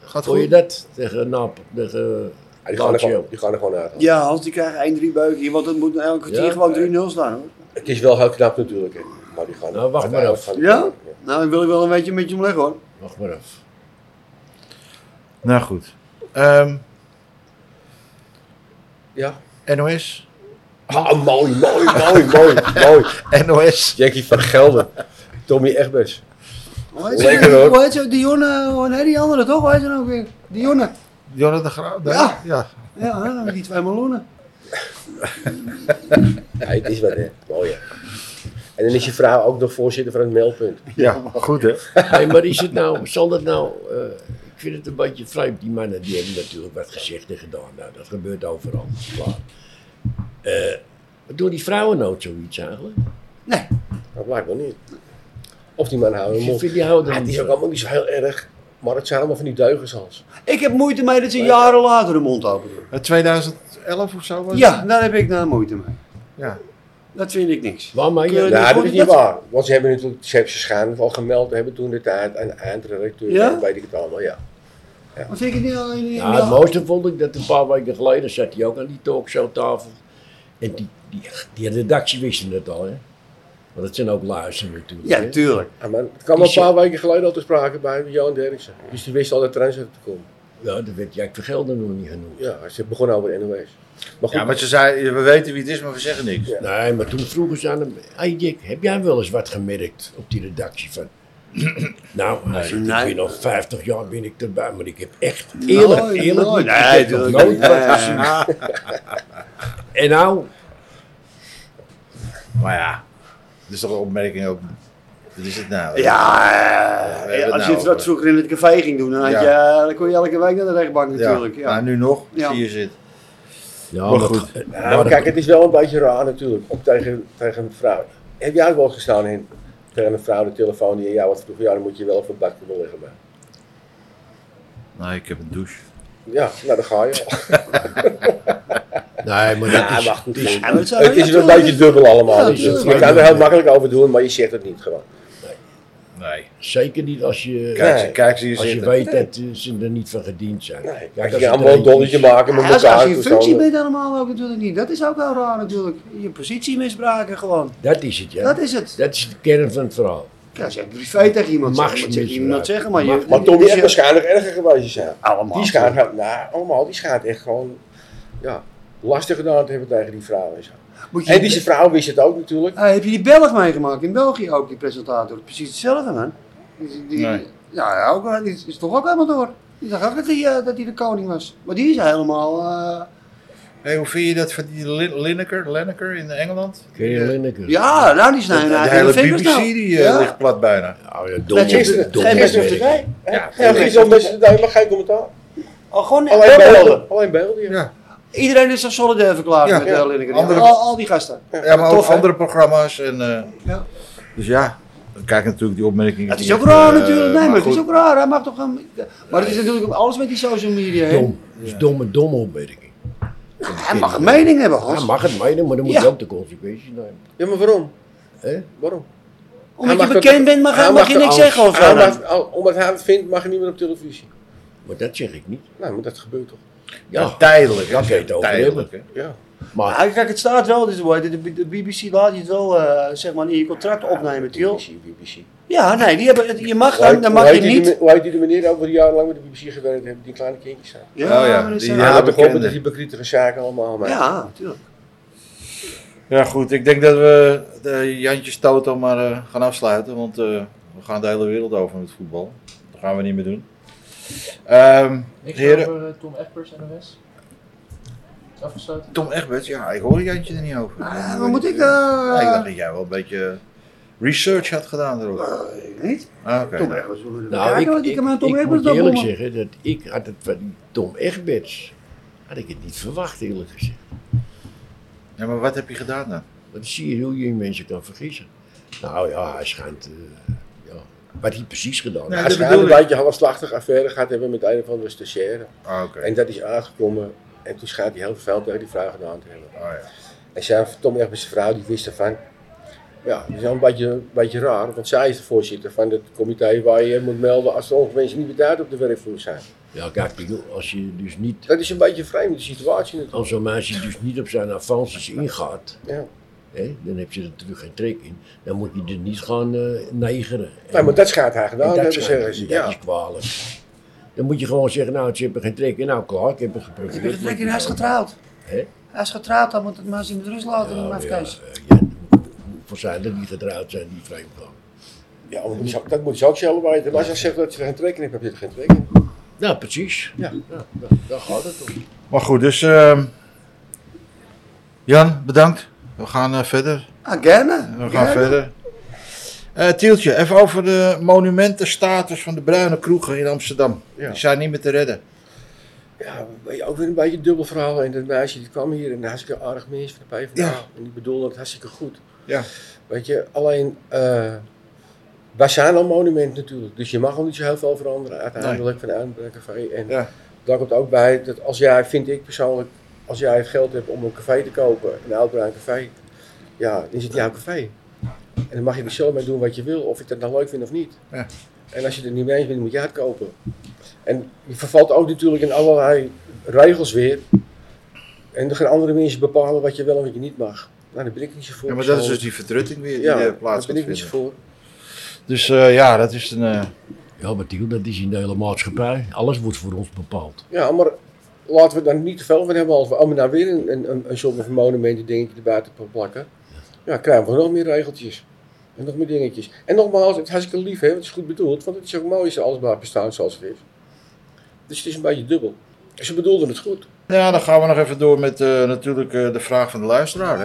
Speaker 1: Gaat
Speaker 2: Hoor je
Speaker 1: goed?
Speaker 2: dat tegen Nap? Tegen
Speaker 4: Ja, die, gaan er gewoon,
Speaker 2: Lazio?
Speaker 4: die gaan er gewoon uit.
Speaker 3: ja, Hans, die krijgt 1-3 beuken hier, want het moet elke kwartier
Speaker 2: Ja.
Speaker 3: gewoon 3-0 staan hoor.
Speaker 4: Het is wel heel knap natuurlijk. Hè. Maar die gaan
Speaker 2: Nou, wacht maar
Speaker 4: uiteindelijk
Speaker 2: af.
Speaker 4: gaan die-
Speaker 3: Ja? Nou, ik wil ik wel een beetje met je omleggen hoor.
Speaker 2: Wacht maar af.
Speaker 1: Nou goed. Ehm
Speaker 4: Ja.
Speaker 1: NOS?
Speaker 4: Ah, mooi, mooi, mooi, mooi, mooi.
Speaker 1: NOS?
Speaker 4: Jackie van Gelder. Tommy Egberts.
Speaker 3: Hoe heet ze-
Speaker 4: Lekker, hoor.
Speaker 3: Hoe heet ze? Dionne, eh, hoe heet die andere toch? Hoe heet ze nou ook weer? Dionne.
Speaker 1: Jonathan de Graaf? Nee?
Speaker 3: Ja.
Speaker 1: ja.
Speaker 3: Ja, hè, met die twee meloenen.
Speaker 4: Ja, het is wat, hè. Mooi, hè. En dan is je vrouw ook nog voorzitter van het meldpunt.
Speaker 1: Ja, goed hè.
Speaker 2: Hey, maar is het nou, [laughs] zal dat nou... eh, ik vind het een beetje vreemd, die mannen die hebben natuurlijk wat gezegd en gedaan. Nou, dat gebeurt overal, dat is klaar. Eh, wat doen die vrouwen nou zoiets eigenlijk?
Speaker 4: Dat blijkbaar niet. Of die man houden
Speaker 2: Ik
Speaker 4: hem op.
Speaker 2: vind die houden
Speaker 4: Ja,
Speaker 2: er
Speaker 4: het
Speaker 2: niet
Speaker 4: Ah, is
Speaker 2: van.
Speaker 4: ook allemaal niet zo heel erg. Maar het zijn allemaal van die deugenshals.
Speaker 3: Ik heb moeite mee dat ze jaren later de mond open doen.
Speaker 1: Eh, 2011 of zo was het?
Speaker 3: Ja, daar heb ik nou moeite mee.
Speaker 1: Ja.
Speaker 3: Dat vind ik niks.
Speaker 2: Waar maar
Speaker 3: Ja,
Speaker 2: je...
Speaker 4: Nou, dat
Speaker 3: vond
Speaker 4: is
Speaker 3: ik
Speaker 4: niet
Speaker 3: dat-
Speaker 4: waar. Want ze hebben natuurlijk, ze hebben ze schijnbaar al gemeld. hebben toen de tijd aan de eindredacteur.
Speaker 3: Ja?
Speaker 4: en Weet ik het allemaal, ja.
Speaker 3: Maar vind ik het niet al in, in-
Speaker 2: Ja, nou, het mooiste vond ik dat een paar weken geleden zat hij ook aan die talkshowtafel. En die, die, die redactie wisten het al, hè? Want het zijn ook luisteren natuurlijk.
Speaker 3: ja,
Speaker 2: hè.
Speaker 3: tuurlijk.
Speaker 4: Ja, maar Ah, het kwam al een
Speaker 2: Is je-
Speaker 4: paar weken geleden al te sprake bij Johan Derksen. Dus die wist al dat Trent zou te komen.
Speaker 2: ja, dat werd Jack Vergelder nog niet genoemd.
Speaker 4: Ja, ze begonnen over NOS. Maar goed,
Speaker 1: Ja, maar ze zei, we weten wie het is, maar we zeggen niks.
Speaker 4: Ja.
Speaker 2: Nee, maar toen vroegen ze aan hem: Hey Jack, heb jij wel eens wat gemerkt op die redactie? Van, [clears throat] nou, hij zegt,
Speaker 3: Nee.
Speaker 2: ik ben al 50 jaar ben ik erbij, maar ik heb echt eerlijk,
Speaker 3: Nooit,
Speaker 2: eerlijk,
Speaker 3: nooit.
Speaker 2: niet-
Speaker 3: Nee,
Speaker 2: ik heb nog
Speaker 3: tuurlijk
Speaker 2: nooit
Speaker 3: niet.
Speaker 2: wat
Speaker 3: Nee.
Speaker 2: gezien. En nou,
Speaker 1: Maar ja, het is toch een opmerking ook. Wat is het nou?
Speaker 3: Ja,
Speaker 1: we
Speaker 3: eh,
Speaker 1: hebben
Speaker 3: als
Speaker 1: het nou
Speaker 3: je dat
Speaker 1: over.
Speaker 3: vroeger in het café ging doen, dan, had
Speaker 1: Ja.
Speaker 3: je, eh, dan kon je elke week naar de rechtbank
Speaker 1: Ja,
Speaker 3: natuurlijk. Ja.
Speaker 1: maar nu nog,
Speaker 3: Ja.
Speaker 1: zie je zit.
Speaker 2: ja,
Speaker 1: Maar
Speaker 2: maar
Speaker 1: goed.
Speaker 2: het-
Speaker 4: Ja,
Speaker 2: maar
Speaker 4: maar Nou, kijk, het is wel een beetje raar natuurlijk. Ook tegen, tegen een vrouw. Heb jij wel eens gestaan in, tegen een vrouw de telefoon die aan jou wat vroeg? Ja, dan moet je wel even een bakje leggen. Maar.
Speaker 1: Nee, ik heb een douche.
Speaker 4: Ja, nou dan ga je. al.
Speaker 2: Nee, maar dat
Speaker 4: Ja, [laughs]
Speaker 2: is...
Speaker 4: wacht goed.
Speaker 2: is-
Speaker 4: Het
Speaker 3: maar het
Speaker 4: is,
Speaker 3: zou-
Speaker 4: het is
Speaker 3: ja,
Speaker 4: wel een
Speaker 3: toch,
Speaker 4: beetje dubbel allemaal.
Speaker 3: Ja,
Speaker 4: dus
Speaker 2: tuurlijk.
Speaker 4: je kan er heel makkelijk over doen, maar je zegt het niet gewoon.
Speaker 1: Nee.
Speaker 2: Zeker niet als je,
Speaker 1: Kijk, ze-
Speaker 4: Nee.
Speaker 1: kijk ze hier
Speaker 2: als je
Speaker 1: zitten.
Speaker 2: weet dat eh, ze er niet van gediend zijn.
Speaker 4: Nee,
Speaker 2: dat
Speaker 4: je
Speaker 2: is
Speaker 4: kan allemaal een
Speaker 2: treintje.
Speaker 4: dolletje maken met
Speaker 3: Ja, als,
Speaker 4: elkaar.
Speaker 3: als
Speaker 4: dus
Speaker 3: je in functie
Speaker 4: toestanden.
Speaker 3: bent allemaal ook natuurlijk niet. Dat is ook wel raar natuurlijk. Je positie misbruiken gewoon.
Speaker 2: Dat is het, ja.
Speaker 3: Dat is het.
Speaker 2: Dat is de kern van het verhaal.
Speaker 3: Ja, als je privé tegen iemand zegt, moet je
Speaker 2: Machtsmisbruik.
Speaker 3: iemand zeggen. Maar, je,
Speaker 4: eh, Maar Tom, die
Speaker 3: je-
Speaker 4: is waarschijnlijk erger geweest zijn.
Speaker 3: allemaal.
Speaker 4: Die schijnt, gewoon- nou, allemaal, die schijnt echt gewoon ja, lastig gedaan te hebben tegen die vrouw. En, zo.
Speaker 3: Moet je-
Speaker 4: en die vrouw wist het ook natuurlijk.
Speaker 3: Ah, heb je die Belg meegemaakt? In België ook, die presentator. Precies hetzelfde, man. Die, die-
Speaker 1: Nee.
Speaker 3: Ja, ja, ook, wel. die is- is toch ook helemaal door. Die dacht ook dat hij eh, dat hij de koning was. Maar die is helemaal... eh,
Speaker 1: Hey, hoe vind je dat van die Lin- Lineker, Lineker in Engeland?
Speaker 2: Kerry Lineker.
Speaker 3: ja, nou die snijden
Speaker 1: de, de
Speaker 3: eigenlijk
Speaker 1: hele
Speaker 3: de vingers
Speaker 1: BBC
Speaker 3: nou.
Speaker 1: die eh,
Speaker 3: Ja.
Speaker 1: ligt plat bijna.
Speaker 2: Nou, ja,
Speaker 3: Dat is-
Speaker 2: domme,
Speaker 4: Gisteren,
Speaker 2: domme
Speaker 4: gisteren op
Speaker 2: werk.
Speaker 4: tv. hè?
Speaker 1: Ja,
Speaker 4: Ja, gisteren op de tv, maar geen commentaar.
Speaker 3: Oh, gewoon
Speaker 4: Alleen
Speaker 3: beelden.
Speaker 4: beelden. Alleen beelden, ja.
Speaker 3: Iedereen is dan solidair verklaard
Speaker 1: Ja.
Speaker 3: met
Speaker 4: Ja.
Speaker 3: eh, Lineker. Ja,
Speaker 1: Andere-
Speaker 3: Al, al die gasten.
Speaker 1: Ja, maar
Speaker 3: Tof,
Speaker 1: ook
Speaker 3: hè?
Speaker 1: andere programma's. En, eh,
Speaker 3: Ja.
Speaker 1: Dus ja, dan kijk ik natuurlijk die opmerkingen.
Speaker 3: Dat is
Speaker 1: niet,
Speaker 3: ook raar
Speaker 1: eh,
Speaker 3: natuurlijk. Nee, maar het
Speaker 1: goed.
Speaker 3: is ook raar. Hij mag toch... een- Maar het is natuurlijk alles met die social media heen.
Speaker 2: Dom. Dat is domme, domme opmerking.
Speaker 3: Hij mag een mening hebben,
Speaker 2: Hij
Speaker 3: Hans.
Speaker 2: mag het meenemen, maar dan moet
Speaker 3: Ja.
Speaker 2: je ook de consequenties nemen.
Speaker 4: Ja, maar waarom?
Speaker 2: Hè?
Speaker 4: Waarom?
Speaker 3: Omdat
Speaker 4: Hij
Speaker 3: je
Speaker 4: mag
Speaker 3: bekend
Speaker 4: dat-
Speaker 3: bent, mag,
Speaker 4: hij
Speaker 3: mag
Speaker 4: mag
Speaker 3: je
Speaker 4: er
Speaker 3: niks
Speaker 4: alles-
Speaker 3: zeggen of zo.
Speaker 4: Hij
Speaker 3: dan.
Speaker 4: mag- al- omdat hij het vindt, mag je niet meer op televisie.
Speaker 2: Maar dat zeg ik niet.
Speaker 4: Nou, maar dat gebeurt toch?
Speaker 1: Ja,
Speaker 2: Ja,
Speaker 1: tijdelijk.
Speaker 2: Daar
Speaker 1: hè,
Speaker 2: kun je het over
Speaker 1: tijdelijk. hè.
Speaker 4: Ja.
Speaker 2: maar
Speaker 3: Ja, kijk, het staat wel, dus, hoor, de, de BBC laat je het wel eh, zeg maar in je contract opnemen, Tiel.
Speaker 4: BBC, BBC.
Speaker 3: Ja, nee, die hebben, het- je mag
Speaker 4: Hoe
Speaker 3: dan,
Speaker 4: heet-
Speaker 3: dan
Speaker 4: hoe
Speaker 3: mag je
Speaker 4: heet die de-
Speaker 3: niet.
Speaker 4: Hoe heet die de meneer over die jarenlang met de BBC gewerkt hebben, die kleine kindjes zijn?
Speaker 1: Oh ja,
Speaker 3: maar dat is-
Speaker 1: die-
Speaker 4: Ja,
Speaker 1: Ja,
Speaker 4: dat begon met
Speaker 1: bekende.
Speaker 4: die hypocrietige zaken allemaal. Maar.
Speaker 3: ja, natuurlijk.
Speaker 1: Ja, goed. Ik denk dat we de Jantjes Toto maar eh, gaan afsluiten. Want eh, we gaan de hele wereld over met voetbal. Dat gaan we niet meer doen. Ehm,
Speaker 5: Niks
Speaker 1: heren,
Speaker 5: over eh, Tom Egbers en de rest. Afgesloten.
Speaker 1: Tom Egbert, ja, ik hoor Jantje er niet over.
Speaker 3: Ah,
Speaker 1: Ja,
Speaker 3: maar moet ik. eh,
Speaker 1: Ja, ik dacht dat jij wel een beetje research had gedaan erop.
Speaker 3: eh, niet?
Speaker 1: Ah, oké.
Speaker 3: Tom Egbers, we willen
Speaker 2: nou,
Speaker 3: kijken
Speaker 2: ik,
Speaker 3: wat die
Speaker 2: ik,
Speaker 3: kan met Tom
Speaker 2: ik
Speaker 3: Egbers
Speaker 2: moet
Speaker 3: dan
Speaker 2: eerlijk
Speaker 3: bommen.
Speaker 2: zeggen dat ik had het van die Tom Egberts, had ik het niet verwacht eerlijk gezegd.
Speaker 1: Ja, maar wat heb je gedaan dan?
Speaker 2: Want dan zie je hoe je mensen kan vergissen. Nou ja, hij schijnt. eh, ja. Wat hij precies
Speaker 1: Nee,
Speaker 2: gedaan heeft.
Speaker 4: Hij
Speaker 1: dat
Speaker 4: schijnt
Speaker 1: bedoel
Speaker 4: een
Speaker 1: ik.
Speaker 4: beetje halfslachtig affaire gehad hebben met een of andere stagiaire.
Speaker 1: Ah, oké.
Speaker 4: En dat is aangekomen en toen schijnt hij heel veel tegen die vrouw gedaan te hebben.
Speaker 1: Ah, ja.
Speaker 4: En zij, Tom echt met zijn vrouw, die wist ervan. Ja, dat is wel een beetje, een beetje raar, want zij is de voorzitter van het comité waar je moet melden als er ongewenste liberteit op de werkvloer zijn.
Speaker 2: Ja, kijk, ik bedoel, als je dus niet.
Speaker 4: Dat is een beetje een vreemde situatie natuurlijk.
Speaker 2: Als zo'n meisje dus niet op zijn avances ingaat,
Speaker 4: Ja.
Speaker 2: hè, dan heb je er natuurlijk geen trek in. Dan moet je er niet gaan eh neigeren.
Speaker 4: Nee, maar dat schijnt haar
Speaker 2: En
Speaker 4: gedaan te
Speaker 2: dat,
Speaker 4: hebben,
Speaker 2: schijnt-
Speaker 4: zeggen ze.
Speaker 2: dat
Speaker 4: Ja.
Speaker 2: is kwalijk. Dan moet je gewoon zeggen, nou, ze hebben geen trek in. Nou, klaar, ik heb het geprobeerd.
Speaker 3: Ik heb het trek in, hij is getrouwd.
Speaker 2: Hè?
Speaker 3: Hij is getrouwd, dan moet het maar eens in de rust laten, die
Speaker 2: Nou, ja,
Speaker 3: mafkees.
Speaker 2: eh, ja, hoeveel zijn er die getrouwd zijn, die vreemd gaan?
Speaker 4: Ja, maar dat moet ze ook- dat moet ze ook zelf weten. Maar als ze zegt dat ze er geen trek in heeft, heb je er geen trek in.
Speaker 2: Nou, precies.
Speaker 4: Ja.
Speaker 2: daar, daar gaat het om.
Speaker 1: Maar goed, dus ehm, Jan, bedankt. We gaan eh, verder.
Speaker 3: Ah, gerne.
Speaker 1: We gaan verder. Eh, Tieltje, even over de monumentenstatus van de bruine kroegen in Amsterdam.
Speaker 4: Ja.
Speaker 1: Die zijn niet meer te redden.
Speaker 4: Ja, weet je, ook weer een beetje een dubbel verhaal. En dat meisje die kwam hier en daar hartstikke aardig mens van de PvdA.
Speaker 1: Ja.
Speaker 4: En die bedoelde het hartstikke goed.
Speaker 1: Ja.
Speaker 4: Weet je, alleen, eh wij zijn al monument natuurlijk. Dus je mag al niet zo heel veel veranderen uiteindelijk van vanuit een café. En
Speaker 1: Ja.
Speaker 4: daar komt ook bij dat als jij, vind ik persoonlijk, als jij het geld hebt om een café te kopen, een oud bruin café, ja, dan is het jouw café. En dan mag je er zelf mee doen wat je wil, of ik dat nou leuk vind of niet.
Speaker 1: Ja.
Speaker 4: En als je het er niet mee eens bent, moet je het kopen. En je vervalt ook natuurlijk in allerlei regels weer. En er gaan andere mensen bepalen wat je wel en wat je niet mag. Nou, daar ben ik niet zo voor.
Speaker 1: Ja, maar dat is dus
Speaker 4: persoonlijk.
Speaker 1: die verdrutting weer die
Speaker 4: ja,
Speaker 1: eh,
Speaker 4: daar
Speaker 1: plaats
Speaker 4: ben
Speaker 1: gaat
Speaker 4: ik niet zo
Speaker 1: vinden.
Speaker 4: voor.
Speaker 1: Dus eh, ja, dat is een... eh,
Speaker 2: Ja, maar Tiel, dat is in de hele maatschappij. Alles wordt voor ons bepaald.
Speaker 4: Ja, maar laten we daar niet te veel van hebben. Als we allemaal nou weer een, een, een, een soort van monumenten dingetje erbij te plakken. Ja, krijgen we nog meer regeltjes. En nog meer dingetjes. En nogmaals, het is hartstikke lief, hè, want het is goed bedoeld. Want het is ook mooi als alles blijft bestaan zoals het is. Dus het is een beetje dubbel. Ze bedoelden het goed.
Speaker 1: Ja, dan gaan we nog even door met eh, natuurlijk eh, de vraag van de luisteraar. Hè?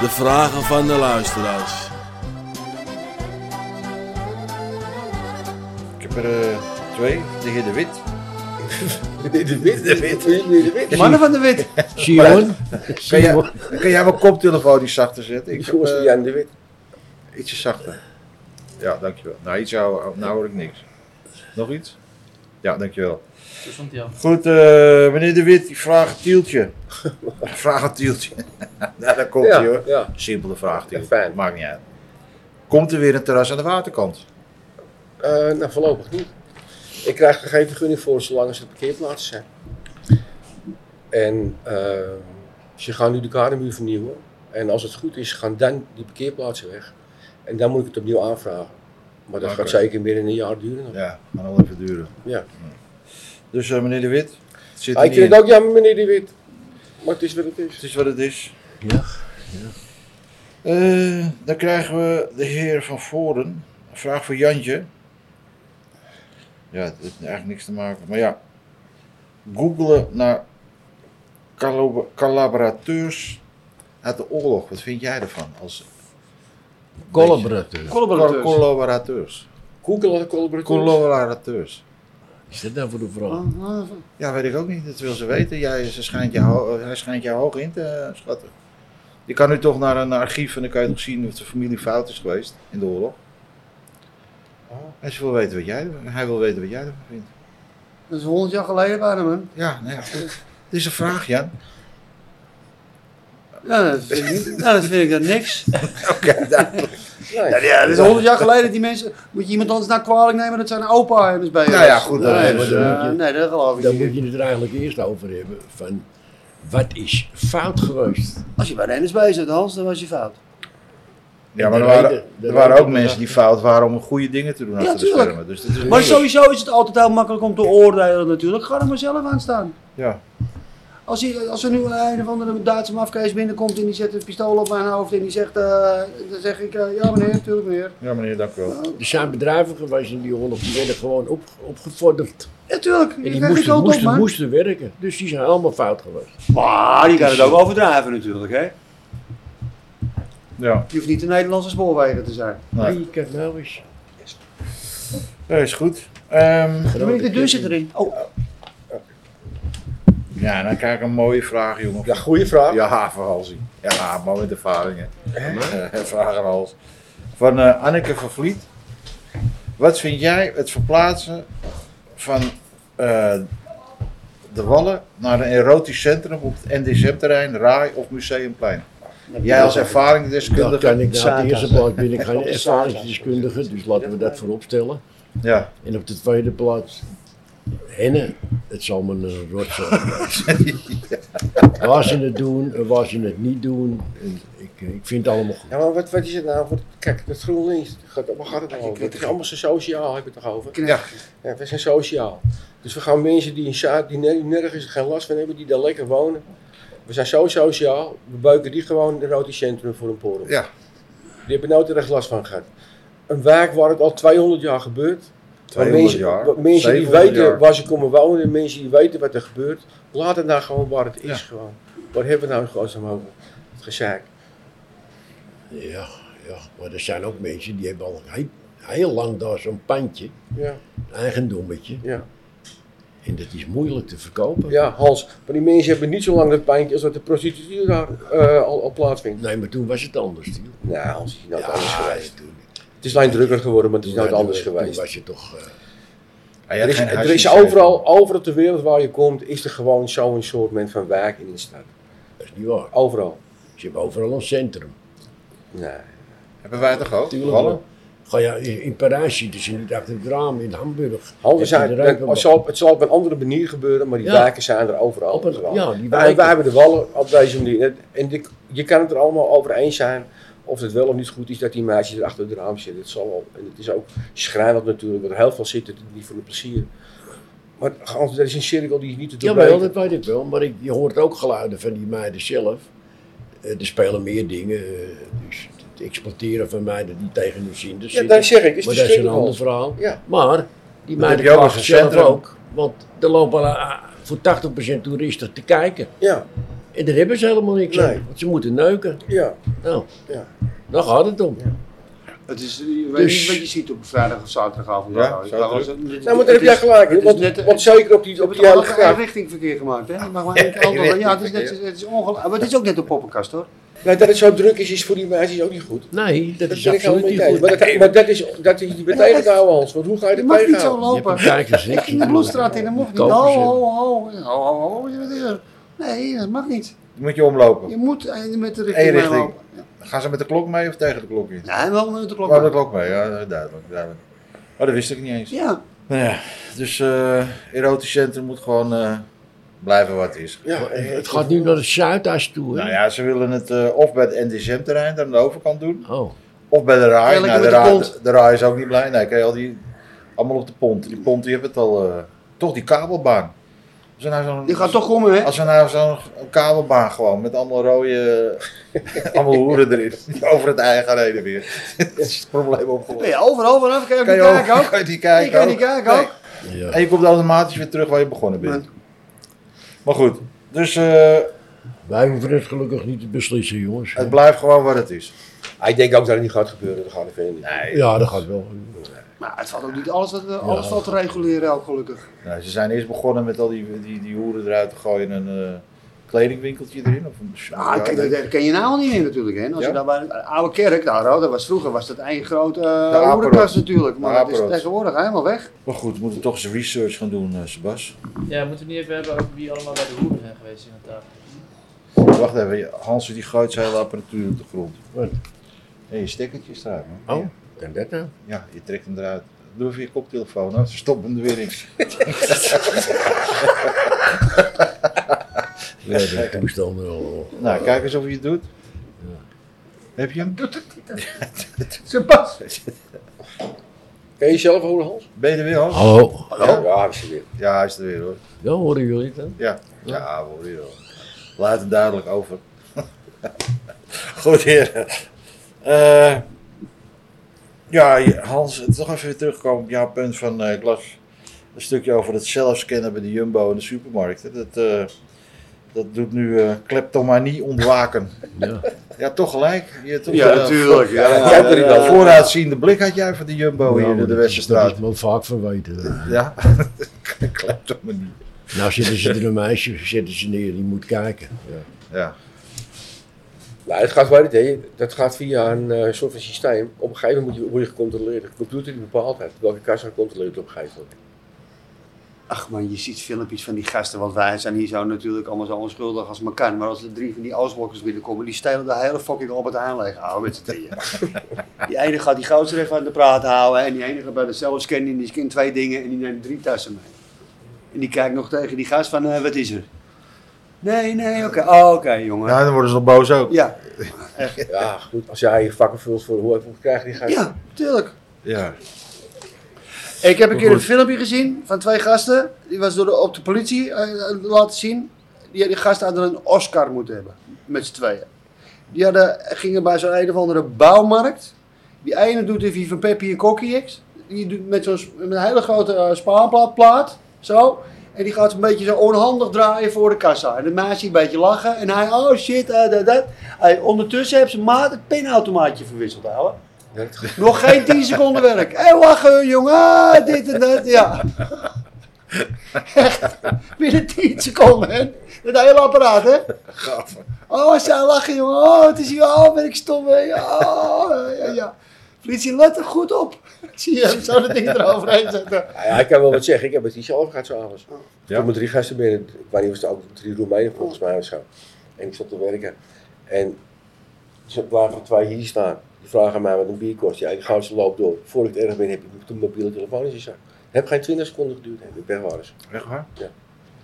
Speaker 6: De vragen van de luisteraars.
Speaker 1: Ik heb er eh, twee. De heer De Wit.
Speaker 4: De wit, de wit, de wit.
Speaker 3: De mannen van de
Speaker 2: [laughs]
Speaker 3: wit.
Speaker 2: Simon?
Speaker 1: Kun jij, kun jij mijn koptelefoon iets zachter zetten? [laughs]
Speaker 4: Ik
Speaker 1: Ik
Speaker 4: jongens,
Speaker 1: heb,
Speaker 4: die
Speaker 1: eh,
Speaker 4: aan de wit.
Speaker 1: ietsje zachter. Ja, dankjewel. Nou, iets hou, nou hoor ik niks. Nog iets? Ja, dankjewel.
Speaker 5: Zo stond hij al.
Speaker 1: Goed, eh, meneer De Wit, ik vraag een tieltje. [laughs] vraag een tieltje. [laughs] nou, daar komt
Speaker 4: ja,
Speaker 1: hij hoor.
Speaker 4: ja.
Speaker 1: Simpele vraag, tieltje.
Speaker 4: Ja, fijn.
Speaker 1: Maakt niet uit. Komt er weer een terras aan de waterkant?
Speaker 4: Eh, nou, voorlopig niet. Ik krijg er geen vergunning voor zolang er parkeerplaatsen zijn. En eh, ze gaan nu de kademuur vernieuwen. En als het goed is, gaan dan die parkeerplaatsen weg. En dan moet ik het opnieuw aanvragen. Maar dat
Speaker 1: Oké.
Speaker 4: gaat zeker meer dan een jaar duren. Ah, nog.
Speaker 1: Ja, maar nog even duren.
Speaker 4: Ja.
Speaker 1: Dus eh, meneer De Wit, Nou, het zit
Speaker 4: Ah,
Speaker 1: er
Speaker 4: ik
Speaker 1: niet
Speaker 4: vind
Speaker 1: in.
Speaker 4: het ook jammer, meneer De Wit. Maar het is wat het is.
Speaker 1: Het is wat het is.
Speaker 2: Ja,
Speaker 1: Eh, dan krijgen we de heer van Voren. Een vraag voor Jantje. Ja, het heeft eigenlijk niks te maken. Maar ja, googelen naar collab- collaborateurs uit de oorlog. Wat vind jij ervan? Als
Speaker 2: Collaborateur.
Speaker 1: collaborateurs. Collaborateurs.
Speaker 4: Google had een collaborateur.
Speaker 1: Collaborateurs.
Speaker 2: Is dat nou voor de vrouw?
Speaker 3: Ah, ah,
Speaker 1: Ja, weet ik ook niet. Dat wil ze weten. Jij, ze schijnt jou, ho- eh, hij schijnt jou hoog in te eh, schatten. Je kan nu toch naar een archief en dan kan je toch zien of de familie fout is geweest in de oorlog. Hij wil weten wat jij, hij wil weten wat jij ervan vindt.
Speaker 3: Dat is 100 jaar geleden bijna, man.
Speaker 1: Ja, nou ja, goed. Dit is een vraag, Jan.
Speaker 3: Ja, dat vind [laughs] ik, niet- nou, dat vind ik dan [laughs] niks.
Speaker 1: Oké, nou,
Speaker 4: Nee.
Speaker 3: Ja, dat is 100 jaar geleden dat die mensen. Moet je iemand anders naar kwalijk nemen dat zijn opa dus bij je
Speaker 1: Nou
Speaker 3: was.
Speaker 1: ja, goed, dan
Speaker 3: Nee,
Speaker 1: hebben
Speaker 3: dus,
Speaker 2: ze-
Speaker 3: eh, nee, dat geloof ik
Speaker 2: Dan
Speaker 3: niet.
Speaker 2: moet je het er eigenlijk eerst over hebben van wat is fout geweest.
Speaker 3: Als je bij de NSB zat, Hans, dan was je fout.
Speaker 1: ja, maar er
Speaker 2: De
Speaker 1: waren,
Speaker 2: reden- de
Speaker 1: er waren
Speaker 2: reden
Speaker 1: ook mensen die fout waren om goede dingen te doen achter de
Speaker 3: tuurlijk.
Speaker 1: schermen. Dus dit is
Speaker 3: Maar sowieso is het altijd heel makkelijk om te oordelen natuurlijk. Ga er maar zelf aan staan.
Speaker 1: Ja,
Speaker 3: Als, hij, als er nu een, een of andere Duitse mafkees binnenkomt en die zet een pistool op mijn hoofd en die zegt, eh, dan zeg ik, eh, ja meneer, natuurlijk meneer.
Speaker 1: ja, meneer, dank u wel.
Speaker 2: Er zijn bedrijven geweest in die oorlog, die werden gewoon op, opgevorderd.
Speaker 3: Ja, tuurlijk,
Speaker 2: En
Speaker 3: je
Speaker 2: die
Speaker 3: krijgt geen
Speaker 2: moesten,
Speaker 3: kant op
Speaker 2: moesten,
Speaker 3: man.
Speaker 2: moesten werken. Dus die zijn allemaal fout geweest.
Speaker 3: Maar je kan het ook overdrijven natuurlijk, hè.
Speaker 1: Ja,
Speaker 3: Je hoeft niet de Nederlandse spoorwegen te zijn.
Speaker 1: Nee.
Speaker 2: Hey, kijk nou eens.
Speaker 1: dat is goed. Ehm,
Speaker 3: Dan ben ik de deur zit erin. Oh,
Speaker 1: ja, dan krijg ik een mooie vraag, jongen.
Speaker 4: Ja, goede vraag.
Speaker 1: Ja, havenhalsing. Ja, man met ervaringen. [laughs] Eh, Vraag en hals. Van eh, Anneke van Vliet. Wat vind jij het verplaatsen van eh, de Wallen naar een erotisch centrum op het NDZ-terrein, Rai of Museumplein? Jij als
Speaker 2: Dat
Speaker 1: ervaringsdeskundige.
Speaker 2: kan ik nou op de eerste plaats ben ik geen ervaringsdeskundige, dus laten we dat vooropstellen. [laughs]
Speaker 1: Ja,
Speaker 2: En op de tweede plaats, hennen, het zal me een rot zijn. Waar ze het doen en waar ze het niet doen, en ik, ik vind het allemaal goed.
Speaker 4: Ja, maar wat, wat is het nou? voor- Kijk, dat GroenLinks, gaat, waar gaat het nou over? Het is allemaal zo sociaal, heb ik het toch over?
Speaker 1: ja,
Speaker 4: Ja, we zijn sociaal. Dus we gaan mensen die in Sjaard, die ner- nergens geen last van hebben, die daar lekker wonen. We zijn zo sociaal, we buiken die gewoon in het rotocentrum voor een porno.
Speaker 1: Ja.
Speaker 4: Die hebben nooit ergens last van gehad. Een wijk waar het al 200 jaar gebeurt. waar
Speaker 1: 200
Speaker 4: mensen,
Speaker 1: jaar,
Speaker 4: waar mensen die
Speaker 1: 700
Speaker 4: weten
Speaker 1: jaar.
Speaker 4: waar ze komen wonen, mensen die weten wat er gebeurt. Laat het nou gewoon waar het is gewoon. Waar hebben we nou in godsnaam over? Het gezeik.
Speaker 2: Ja, ja, maar er zijn ook mensen die hebben al heel, heel lang daar zo'n pandje,
Speaker 4: Ja,
Speaker 2: een eigendommetje,
Speaker 4: ja.
Speaker 2: en dat is moeilijk te verkopen.
Speaker 4: ja, Hans. Maar die mensen hebben niet zo lang dat pijntje als dat de prostitutie daar eh, al, al plaatsvindt.
Speaker 2: Nee, maar toen was het anders. Tiel.
Speaker 4: Nou, Hans, is nou
Speaker 2: Ja,
Speaker 4: anders geweest.
Speaker 2: toen-
Speaker 4: Het is alleen drukker geworden, maar het is
Speaker 2: toen-
Speaker 4: nooit anders
Speaker 2: toen
Speaker 4: geweest.
Speaker 2: was je toch... eh,
Speaker 1: Hij had
Speaker 4: Er is,
Speaker 1: geen
Speaker 4: er is
Speaker 1: huisjes
Speaker 4: overal, overal ter wereld waar je komt, is er gewoon zo'n soort men van wijk in de stad.
Speaker 2: dat is niet waar.
Speaker 4: Overal.
Speaker 2: Ze hebben overal een centrum.
Speaker 4: Nee.
Speaker 1: gegeven. Hebben wij toch ook?
Speaker 2: Tuurlijk
Speaker 1: Wallen?
Speaker 2: wel. Ga je in in Parijs zitten ze niet achter het raam in Hamburg.
Speaker 4: Halve eh,
Speaker 2: Heb je
Speaker 4: zijn,
Speaker 2: er ook een-
Speaker 4: het, zal, het zal op een andere manier gebeuren, maar die
Speaker 2: Ja.
Speaker 4: wijken zijn er overal.
Speaker 2: Op een-
Speaker 4: overal.
Speaker 2: ja, die
Speaker 4: En
Speaker 2: wijken.
Speaker 4: wij hebben de wallen op deze manier. En die- je kan het er allemaal over eens zijn of het wel of niet goed is dat die meisjes er achter het raam zitten. Het zal wel. En het is ook schrijnend natuurlijk, want er heel veel zitten niet voor de plezier. Maar Hans, dat is een cirkel die is niet te
Speaker 2: Jawel,
Speaker 4: doorbreken.
Speaker 2: dat weet ik wel. Maar ik, je hoort ook geluiden van die meiden zelf. Eh, er spelen meer dingen. eh, dus het exploiteren van meiden die tegen hun zin
Speaker 4: Ja,
Speaker 2: zitten.
Speaker 4: dat zeg ik. Het
Speaker 2: maar
Speaker 4: is
Speaker 2: dat is een ander verhaal.
Speaker 4: verschrikkelijk. Ja.
Speaker 2: Maar die
Speaker 1: Dat heb
Speaker 2: meiden
Speaker 1: je ook als
Speaker 2: klagen
Speaker 1: een
Speaker 2: zelf
Speaker 1: centrum.
Speaker 2: ook. Want er lopen al, ah, voor 80% toeristen te kijken.
Speaker 4: Ja,
Speaker 2: En daar hebben ze helemaal niks
Speaker 4: Nee.
Speaker 2: aan. Want ze moeten neuken.
Speaker 4: ja,
Speaker 2: Nou,
Speaker 4: ja.
Speaker 2: daar gaat het om.
Speaker 3: het is, je weet
Speaker 2: Dus-
Speaker 3: niet wat je ziet op vrijdag of zaterdagavond.
Speaker 1: Ja,
Speaker 3: Nou, ik
Speaker 1: zou
Speaker 3: wou
Speaker 1: het
Speaker 3: wel zeggen,
Speaker 4: Nou, maar
Speaker 3: het
Speaker 4: daar heb jij
Speaker 3: is-
Speaker 4: gelijk in.
Speaker 3: het is
Speaker 4: Want,
Speaker 3: net- het
Speaker 4: want
Speaker 3: is-
Speaker 4: zeker op die,
Speaker 3: Ze
Speaker 4: op
Speaker 3: hebben
Speaker 4: die
Speaker 3: allemaal
Speaker 4: heilige
Speaker 3: een
Speaker 4: graaf.
Speaker 3: richtingverkeer gemaakt, hè? Maar, maar, ja, het is, net, ja, het is, net, het is ongelooflijk. Maar het is ook net een poppenkast, hoor.
Speaker 4: Nou, dat het zo druk is, is voor die meisjes ook niet goed.
Speaker 2: Nee, dat
Speaker 4: Dat
Speaker 2: is
Speaker 4: ben ik
Speaker 2: absoluut
Speaker 4: helemaal
Speaker 2: niet
Speaker 4: mee eens.
Speaker 2: goed.
Speaker 4: Maar dat, maar dat is, dat is niet betekend, ouwe Hans. Want hoe ga je
Speaker 3: Je
Speaker 4: dat
Speaker 3: mag niet zo
Speaker 4: tegenhouden?
Speaker 2: Je hebt
Speaker 3: lopen.
Speaker 2: een kijkersrecht.
Speaker 3: Ik ging de bloedstraat in, dat mocht niet. Ho,
Speaker 2: Kopers, hè.
Speaker 3: ho, ho. Ho, ho, ho. je bent hier. Nee, dat mag niet.
Speaker 1: Dan moet je omlopen.
Speaker 3: Je moet eh, met de
Speaker 1: Eén
Speaker 3: richting
Speaker 1: richting.
Speaker 3: lopen. Ja.
Speaker 1: Gaan ze met de klok mee of tegen de klok in?
Speaker 3: Ja, wel met de klok.
Speaker 1: Waar de klok mee, ja, duidelijk. duidelijk. Oh, dat wist ik niet eens.
Speaker 3: Ja,
Speaker 1: Nou ja, dus eh erotisch centrum moet gewoon eh, blijven wat het is.
Speaker 4: Ja,
Speaker 2: Het gaat nu naar de Zuidas toe, hè?
Speaker 1: Nou ja, ze willen het eh, of bij het NDSM-terrein aan de overkant doen,
Speaker 2: Oh,
Speaker 1: of bij de RAI.
Speaker 3: Eigenlijk
Speaker 1: Nou, de,
Speaker 3: met de
Speaker 1: RAI
Speaker 3: pont.
Speaker 1: de, RAI is ook niet blij. Nee, kijk, al die, allemaal op de pont. Die pont, die hebben het al. eh, toch die kabelbaan. Als er nou zo'n-
Speaker 3: die gaat toch komen, hè?
Speaker 1: Als we nou zo'n kabelbaan gewoon met allemaal rode. [laughs] allemaal hoeren erin. [laughs] die Over het eigen reden weer. [laughs] Dat is het probleem
Speaker 3: Ben
Speaker 1: opgelost.
Speaker 3: je overal vanaf, kan je ook
Speaker 1: Kan
Speaker 3: niet
Speaker 1: je
Speaker 3: kijken
Speaker 1: ook, [laughs]
Speaker 3: ook.
Speaker 1: kan je die
Speaker 3: Ik
Speaker 1: kijken
Speaker 3: kan
Speaker 1: ook.
Speaker 3: niet kijken ook.
Speaker 2: ja.
Speaker 1: En je komt automatisch weer terug waar je begonnen bent. Maar goed, dus eh,
Speaker 2: Wij hoeven het gelukkig niet te beslissen, jongens.
Speaker 1: het blijft gewoon wat het is.
Speaker 4: Ah, ik denk ook dat het niet gaat gebeuren. Dat gaat het verder niet.
Speaker 1: Nee,
Speaker 2: Ja, dat gaat wel.
Speaker 3: Maar het valt ook niet alles, wat, eh, alles valt te reguleren ook, gelukkig.
Speaker 1: Nou, ze zijn eerst begonnen met al die, die, die hoeren eruit te gooien en een eh, kledingwinkeltje erin. Of een
Speaker 3: Ah, kijk, dat ken je nou al niet meer natuurlijk. Hè? Als
Speaker 1: Ja.
Speaker 3: je daar bij een oude kerk, daar, hoor, dat was, vroeger was dat één grote
Speaker 1: De
Speaker 3: uh,
Speaker 1: Aperot.
Speaker 3: hoerenkast natuurlijk. Maar
Speaker 1: De
Speaker 3: dat is
Speaker 1: Aperot.
Speaker 3: tegenwoordig helemaal weg.
Speaker 1: Maar goed, we moeten toch eens research gaan doen, eh, Sebas.
Speaker 5: Ja, moeten we niet even hebben over wie allemaal bij de hoeren zijn geweest in de tafel.
Speaker 1: Wacht even, Hansen die gooit zijn hele apparatuur op de grond.
Speaker 2: Wat?
Speaker 1: Hé, je stekkertje staat, man.
Speaker 2: Oh, kan dat nou?
Speaker 1: Ja, je trekt hem eruit. Doe even je koptelefoon af, ze stoppen hem er weer in.
Speaker 2: Ja, dat toestel nu al.
Speaker 1: Nou, kijk eens of je het doet. Heb je hem?
Speaker 3: Sebas!
Speaker 4: Ken je zelf holen, Hans?
Speaker 1: Ben je er weer, Hans?
Speaker 2: Hallo.
Speaker 4: Ja, ja, is hij weer.
Speaker 1: [laughs] Ja, hij is er weer, hoor.
Speaker 2: Ja, horen jullie het dan?
Speaker 1: Ja, ja, hoor je wel. Laat het duidelijk over. [laughs] Goed, heren. Eh, ja, Hans, toch even weer terugkomen op jouw punt van eh ik las een stukje over het zelfscannen bij de Jumbo en de supermarkten. Dat, eh, dat doet nu eh kleptomanie ontwaken.
Speaker 2: Ja.
Speaker 1: Ja, toch gelijk. Je, toch, eh,
Speaker 3: Ja,
Speaker 4: ja, ja,
Speaker 1: voor-
Speaker 4: ja.
Speaker 1: vooruitziende blik had jij van de Jumbo
Speaker 2: Ja,
Speaker 1: hier
Speaker 2: maar
Speaker 1: in de
Speaker 2: dat-
Speaker 1: Westerstraat.
Speaker 2: Dat is wel vaak verweten.
Speaker 1: Ja, [laughs] kleptomanie.
Speaker 2: Nou zitten ze er een meisje, zetten ze neer, die moet kijken. Ja.
Speaker 1: Ja,
Speaker 4: Nou, het gaat wel niet, hè. Dat gaat via een eh, soort van systeem. Op een gegeven moment moet je, word je gecontroleerd. De computer die bepaalt het, welke kassa gecontroleerd wordt op een gegeven moment.
Speaker 3: Ach man, je ziet filmpjes van die gasten, want wij zijn hier zo natuurlijk allemaal zo onschuldig als maar kan. Maar als er drie van die Oostblokkers binnenkomen, die stelen de hele fucking op het aanleg houden met z'n drieën. die ene gaat die gozer even aan de praat houden en die ene gaat bij de zelfscanning, die scant twee dingen en die neemt drie tassen mee. En die kijkt nog tegen die gast van, eh, wat is er? Nee, nee, oké, oh, oké jongen.
Speaker 1: Ja, dan worden ze nog boos ook.
Speaker 3: Ja,
Speaker 4: Ja, goed. Als jij je vakken vult voor hoeveel krijg je die gast?
Speaker 3: ja, tuurlijk.
Speaker 1: Ja.
Speaker 3: Ik heb een keer een
Speaker 1: Goed.
Speaker 3: filmpje gezien van twee gasten. Die was door de, op de politie eh, laten zien. Die, die gasten hadden een Oscar moeten hebben. Met z'n tweeën. Die hadden, gingen bij zo'n een of andere bouwmarkt. Die ene doet even van Peppy en Kokkieks. Die doet met zo'n s- met een hele grote eh, spaanplaat. plaat, Zo. En die gaat een beetje zo onhandig draaien voor de kassa. En de meisje een beetje lachen. En hij, oh shit, eh, dat, dat. Hij, ondertussen heeft zijn maat het pinautomaatje verwisseld, ouwe. Nog geen 10 seconden werk. En lachen, jongen, ah, dit en dat. Ja. Echt, binnen 10 seconden. hè. Het hele apparaat, hè?
Speaker 1: Gaaf.
Speaker 3: Oh, zij lachen, jongen. Oh, het is hier. Oh, ben ik stom, hè? Ja, Oh, ja, ja. Politie, let er goed op. [laughs] Zie je hem zo dat ding eroverheen zetten.
Speaker 4: Ja, Nou ja, ik kan wel wat zeggen. Ik heb het hier zelf gehad s'avonds. avonds.
Speaker 1: Ja?
Speaker 4: Toen Toen drie gasten binnen. Ik weet niet of het ook drie Roemenen volgens mij of zo. En ik zat te werken. En ze waren twee hier staan. Die vragen aan mij wat een bier kost. Ja, ik ga ze loop door. Voor ik het erg ben heb ik mijn mobiele telefoon in zijn zak. Heb geen 20 seconden geduurd. Heb ik weg waren ze.
Speaker 1: Echt waar?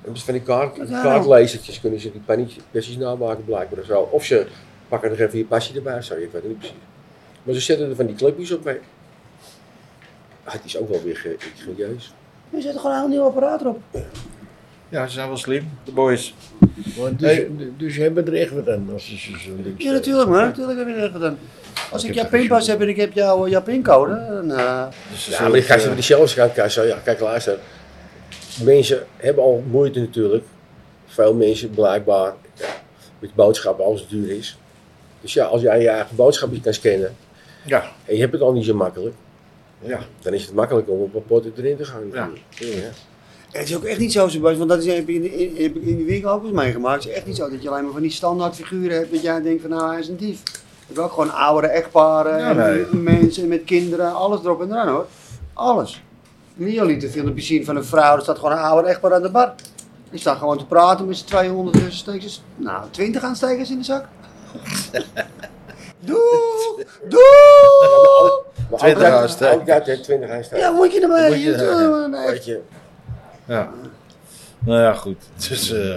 Speaker 4: Hebben ze van die kaart,
Speaker 3: Wat nou?
Speaker 4: kaartlezertjes kunnen ze die paniek precies namaken blijkbaar of zo. Of ze pakken nog even je pasje erbij of zo. Ik weet het niet precies. Maar ze zetten er van die clipjes op mee. Ah, het is ook wel weer ge- curieus.
Speaker 3: Je zet gewoon een heel nieuw apparaat erop.
Speaker 1: Ja, ze zijn wel slim, de boys.
Speaker 2: Maar dus, dus ze hebben er echt wat aan als ze ze zo'n ding
Speaker 3: Ja, natuurlijk, man. Natuurlijk heb je dat gedaan. Als
Speaker 2: heb
Speaker 3: ik jouw
Speaker 2: er geen
Speaker 3: pinpas
Speaker 2: zin
Speaker 3: heb en ik heb jouw, jouw pincode, dan... eh,
Speaker 1: Dus ze
Speaker 4: Ja,
Speaker 1: zullen
Speaker 4: maar die
Speaker 1: het,
Speaker 4: gasten met die shells gaan kijken. Zo, Ja, kijk, luister. Mensen hebben al moeite natuurlijk. Veel mensen blijkbaar ja, met boodschappen als het duur is. Dus ja, als jij je eigen boodschapjes kan scannen
Speaker 1: eh, Ja,
Speaker 4: en je hebt het al niet zo makkelijk,
Speaker 1: ja.
Speaker 4: dan is het makkelijk om op een pot erin te gaan.
Speaker 1: Ja.
Speaker 4: Ja.
Speaker 3: Het is ook echt niet zo, Sebastian, want dat is, heb, ik in de, in- heb ik in de winkel ook eens meegemaakt. Het is echt niet zo dat je alleen maar van die standaard figuren hebt dat jij denkt van nou hij is een dief. Je hebt ook gewoon oudere echtparen,
Speaker 1: Ja,
Speaker 3: en
Speaker 1: nee.
Speaker 3: mensen met kinderen, alles erop en eraan hoor. Alles. Mio liet een filmpje zien van een vrouw, er staat gewoon een oude echtpaar aan de bar. Die staan gewoon te praten met z'n 200 aanstekers. Nou, 20 aanstekers in de
Speaker 1: [laughs]
Speaker 3: zak. Doe! Doe!
Speaker 4: Maar
Speaker 1: 20
Speaker 4: ook dat-
Speaker 1: aanstekers.
Speaker 4: Ook dat, hè, 20 aanstekers.
Speaker 3: Ja, moet je ermee?
Speaker 1: Moet je er-
Speaker 3: Nee.
Speaker 4: Weet je,
Speaker 1: Ja. Nou ja, goed. Dus, eh,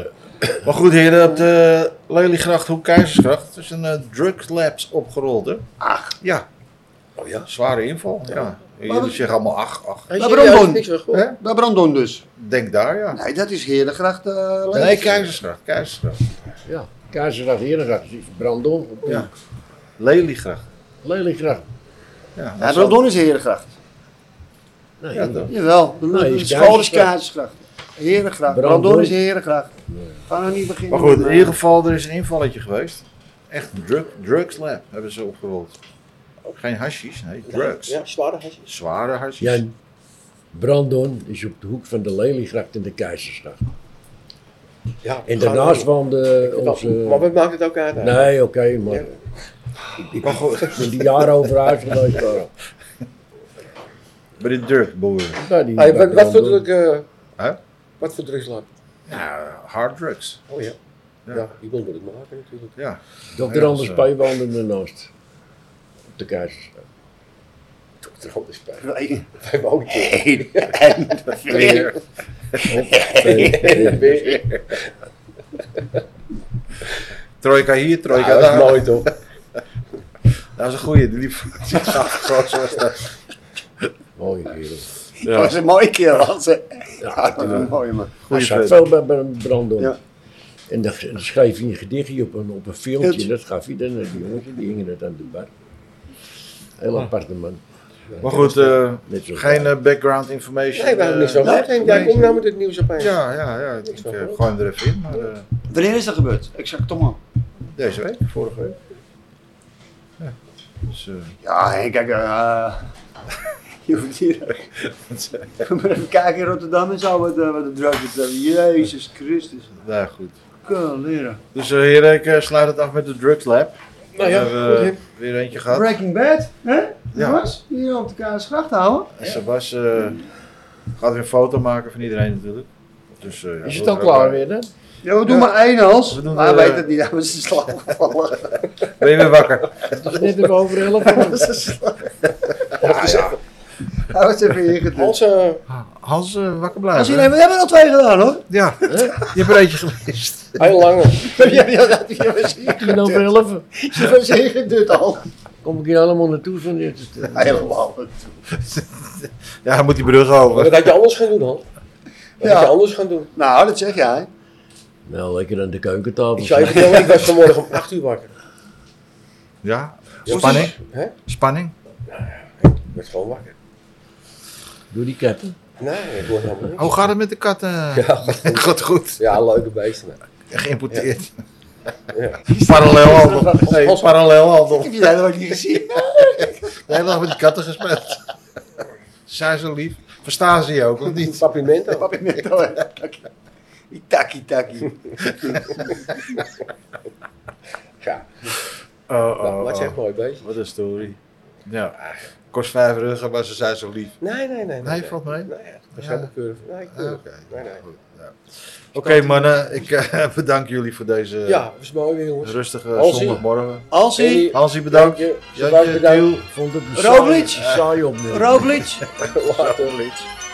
Speaker 1: maar goed, heren, op de Lelygracht, Hoek Keizersgracht, is een eh, drug labs opgerold, hè?
Speaker 3: Ach.
Speaker 1: Ja.
Speaker 4: Oh ja?
Speaker 1: Zware inval, ja. Jullie
Speaker 3: wat-
Speaker 1: zeggen allemaal ach, ach.
Speaker 4: Hij
Speaker 3: Maar
Speaker 4: zit juist
Speaker 3: Brandon.
Speaker 4: niks van gehoord.
Speaker 1: Hè?
Speaker 3: Bij Brandon dus.
Speaker 1: Denk daar, ja.
Speaker 3: Nee, dat is Herengracht eh Leeuwen.
Speaker 1: Nee, Keizersgracht, Keizersgracht.
Speaker 2: Ja, Kaarsdag, Herengracht, is die van Brandon.
Speaker 1: Ja. Lelygracht.
Speaker 2: Lelygracht.
Speaker 1: Ja,
Speaker 3: Ja, Brandon is Herengracht.
Speaker 2: Nee,
Speaker 1: Ja, toch?
Speaker 3: Jawel, de,
Speaker 2: Nee,
Speaker 3: de
Speaker 2: Nou, is
Speaker 3: school is
Speaker 2: Keizersgracht.
Speaker 3: Keizersgracht. Herengracht.
Speaker 2: Brandon.
Speaker 3: Brandon, is Herengracht. Gaan we niet beginnen.
Speaker 1: Maar goed,
Speaker 3: met,
Speaker 1: in
Speaker 3: eh,
Speaker 1: ieder geval, er is een invalletje geweest. Echt een drug, drugs lab hebben ze opgerold. Geen hashies, nee, drugs.
Speaker 4: Ja, zware hasjes.
Speaker 1: Zware hashies.
Speaker 2: Ja, Brandon is op de hoek van de Lelygracht en de Keizersgracht.
Speaker 4: Ja,
Speaker 2: En
Speaker 4: gaan we
Speaker 2: daarnaast
Speaker 4: doen.
Speaker 2: woonde onze...
Speaker 4: Maar wat maakt het ook uit? eigenlijk?
Speaker 2: Nee, oké, maar...
Speaker 4: Ja.
Speaker 2: Ik, ik, ik ben die jaren over huis geweest. maar-
Speaker 1: Bij de drugboeren.
Speaker 2: Nou, die-
Speaker 4: Hey, wat, wat voor
Speaker 2: Brandon.
Speaker 4: druk... eh,
Speaker 1: Hè?
Speaker 4: Wat voor drugslab?
Speaker 1: Ja, hard drugs.
Speaker 4: Oh ja.
Speaker 1: Ja.
Speaker 4: Ja, die wil het maken natuurlijk.
Speaker 1: Ja.
Speaker 2: Dokter
Speaker 1: Ja,
Speaker 2: Anders
Speaker 1: zo.
Speaker 2: P. woonde ernaast. Op de
Speaker 4: [laughs]
Speaker 2: Keizersgracht.
Speaker 4: Dokter Anders bij.
Speaker 3: Nee,
Speaker 4: [laughs] Wij hebben ook niet.
Speaker 3: nee, en weer.
Speaker 1: Trojka hier,
Speaker 4: Ja,
Speaker 1: trojka
Speaker 4: dat
Speaker 1: daar.
Speaker 4: is mooi toch?
Speaker 1: Dat is een goeie, die liep [laughs] die gaf gewoon zoals dat.
Speaker 2: Mooie kerel.
Speaker 3: Dat was een mooie keer, was hè. Ja,
Speaker 2: Ja,
Speaker 3: dat was een mooie man.
Speaker 2: hij
Speaker 1: Goeie
Speaker 2: zat
Speaker 1: vent.
Speaker 2: veel bij, bij een Brandon.
Speaker 3: Ja.
Speaker 2: En dan, dan schreef hij een gedichtje op een, op een filmpje.
Speaker 3: Het-
Speaker 2: Dat gaf hij dan aan die jongens. en Die hingen het aan de bar. Heel aparte man.
Speaker 1: Maar goed, eh,
Speaker 2: Net zo
Speaker 1: geen eh, background information.
Speaker 4: Nee, we hebben niks van
Speaker 1: eh,
Speaker 4: gehoord. En jij komt nou met het nieuws opeens.
Speaker 1: Ja, ja, ja. Ik
Speaker 4: Niks
Speaker 1: denk,
Speaker 4: van
Speaker 1: eh,
Speaker 4: gehoord.
Speaker 1: gooi hem er even in. Maar, eh,
Speaker 3: Wanneer is dat gebeurd? Exact, Tom man.
Speaker 1: deze week, vorige week. Ja. Dus, eh, [laughs]
Speaker 3: Ja, hé, kijk, eh [laughs] je hoeft hier. Kom maar even kijken in Rotterdam en zo, wat, eh, wat de drugs betreft. Jezus Christus.
Speaker 1: nou ja, goed.
Speaker 3: Kunnen leren.
Speaker 1: Dus eh, heren, ik eh, sluit het af met de Drugs Lab.
Speaker 4: Nou ja,
Speaker 1: we hebben eh,
Speaker 4: goed,
Speaker 1: weer eentje gehad.
Speaker 3: Breaking Bad, hè?
Speaker 1: Ja.
Speaker 3: Jongens, hier op de Kaarsgracht houden.
Speaker 1: En Sebas eh, gaat weer een foto maken van iedereen natuurlijk. Dus, eh, ja,
Speaker 2: Is
Speaker 1: wil
Speaker 2: het al
Speaker 1: er
Speaker 2: klaar
Speaker 1: ook-
Speaker 2: weer dan?
Speaker 3: Ja, we doen maar één als.
Speaker 1: We doen
Speaker 3: maar
Speaker 1: er,
Speaker 3: hij
Speaker 1: eh,
Speaker 3: weet het niet, hij was in slaap gevallen.
Speaker 1: [laughs] Ben je weer wakker?
Speaker 2: Het is net nog over elf [laughs] uur.
Speaker 3: was in slaap. Hij was even ingedrukt.
Speaker 4: Hans, eh,
Speaker 1: Hans, eh, wakker blijven.
Speaker 3: Als iedereen, we hebben er al twee gedaan hoor.
Speaker 1: Ja, je hebt er eentje gemist.
Speaker 4: heel lang.
Speaker 3: Ja, ja, dat- je was
Speaker 2: Tien over
Speaker 3: ingedrukt.
Speaker 2: [laughs] elf.
Speaker 3: Je was ingedrukt al.
Speaker 2: Kom ik hier allemaal naartoe van dit.
Speaker 3: Helemaal.
Speaker 1: Ja, hij moet die brug over.
Speaker 4: Wat had je anders gaan doen, Hans? Wat had
Speaker 3: Ja.
Speaker 4: je anders gaan doen?
Speaker 3: Nou, dat zeg jij.
Speaker 2: Nou, lekker aan de keukentafel.
Speaker 4: Ik zou je vertellen, ik was vanmorgen om 8 uur wakker.
Speaker 1: Ja, spanning.
Speaker 4: Hè? Ik
Speaker 1: Spanning.
Speaker 4: werd gewoon wakker.
Speaker 2: Doe die katten.
Speaker 4: Nee, ik word helemaal niet.
Speaker 1: Hoe gaat het met de katten?
Speaker 4: Ja,
Speaker 1: [laughs] Gaat goed.
Speaker 4: ja, leuke beesten.
Speaker 1: Geïmporteerd. [laughs]
Speaker 4: Ja.
Speaker 1: Parallel handel.
Speaker 4: Nee,
Speaker 1: Nee, parallel handel.
Speaker 3: Ik heb je daar nog niet
Speaker 1: [laughs]
Speaker 3: gezien.
Speaker 1: De hele dag met die katten gespeeld. Zijn ze lief? Verstaan ze je ook of niet? [laughs]
Speaker 4: Papimento.
Speaker 3: Pap in net al. Die takkie takkie.
Speaker 4: Ja, Nou,
Speaker 1: Oh, oh,
Speaker 4: maar het is
Speaker 1: oh.
Speaker 4: echt mooi beestje.
Speaker 1: Wat een story. Ja. Kost vijf ruggen, maar ze zijn zo lief.
Speaker 4: Nee, nee, nee.
Speaker 1: Nee, valt mee.
Speaker 4: Nee, ja, dat is
Speaker 1: Ja.
Speaker 4: helemaal keurig. Nee,
Speaker 1: Ah,
Speaker 4: keurig.
Speaker 1: Oké,
Speaker 4: Nee, nee.
Speaker 1: Goed, ja. Oké, mannen, ik eh, [laughs] bedank jullie voor deze
Speaker 4: Ja, dat is mooi weer, jongens.
Speaker 1: rustige
Speaker 4: Hansie.
Speaker 1: zondagmorgen.
Speaker 3: Alsi,
Speaker 1: Hansie, bedankt.
Speaker 4: je.
Speaker 1: Jantje,
Speaker 4: Bedankt.
Speaker 1: Tiel.
Speaker 2: Vond het een
Speaker 3: Roglic.
Speaker 2: saaie- saaie opmerking.
Speaker 3: Roglic.
Speaker 4: Later.
Speaker 1: Lied.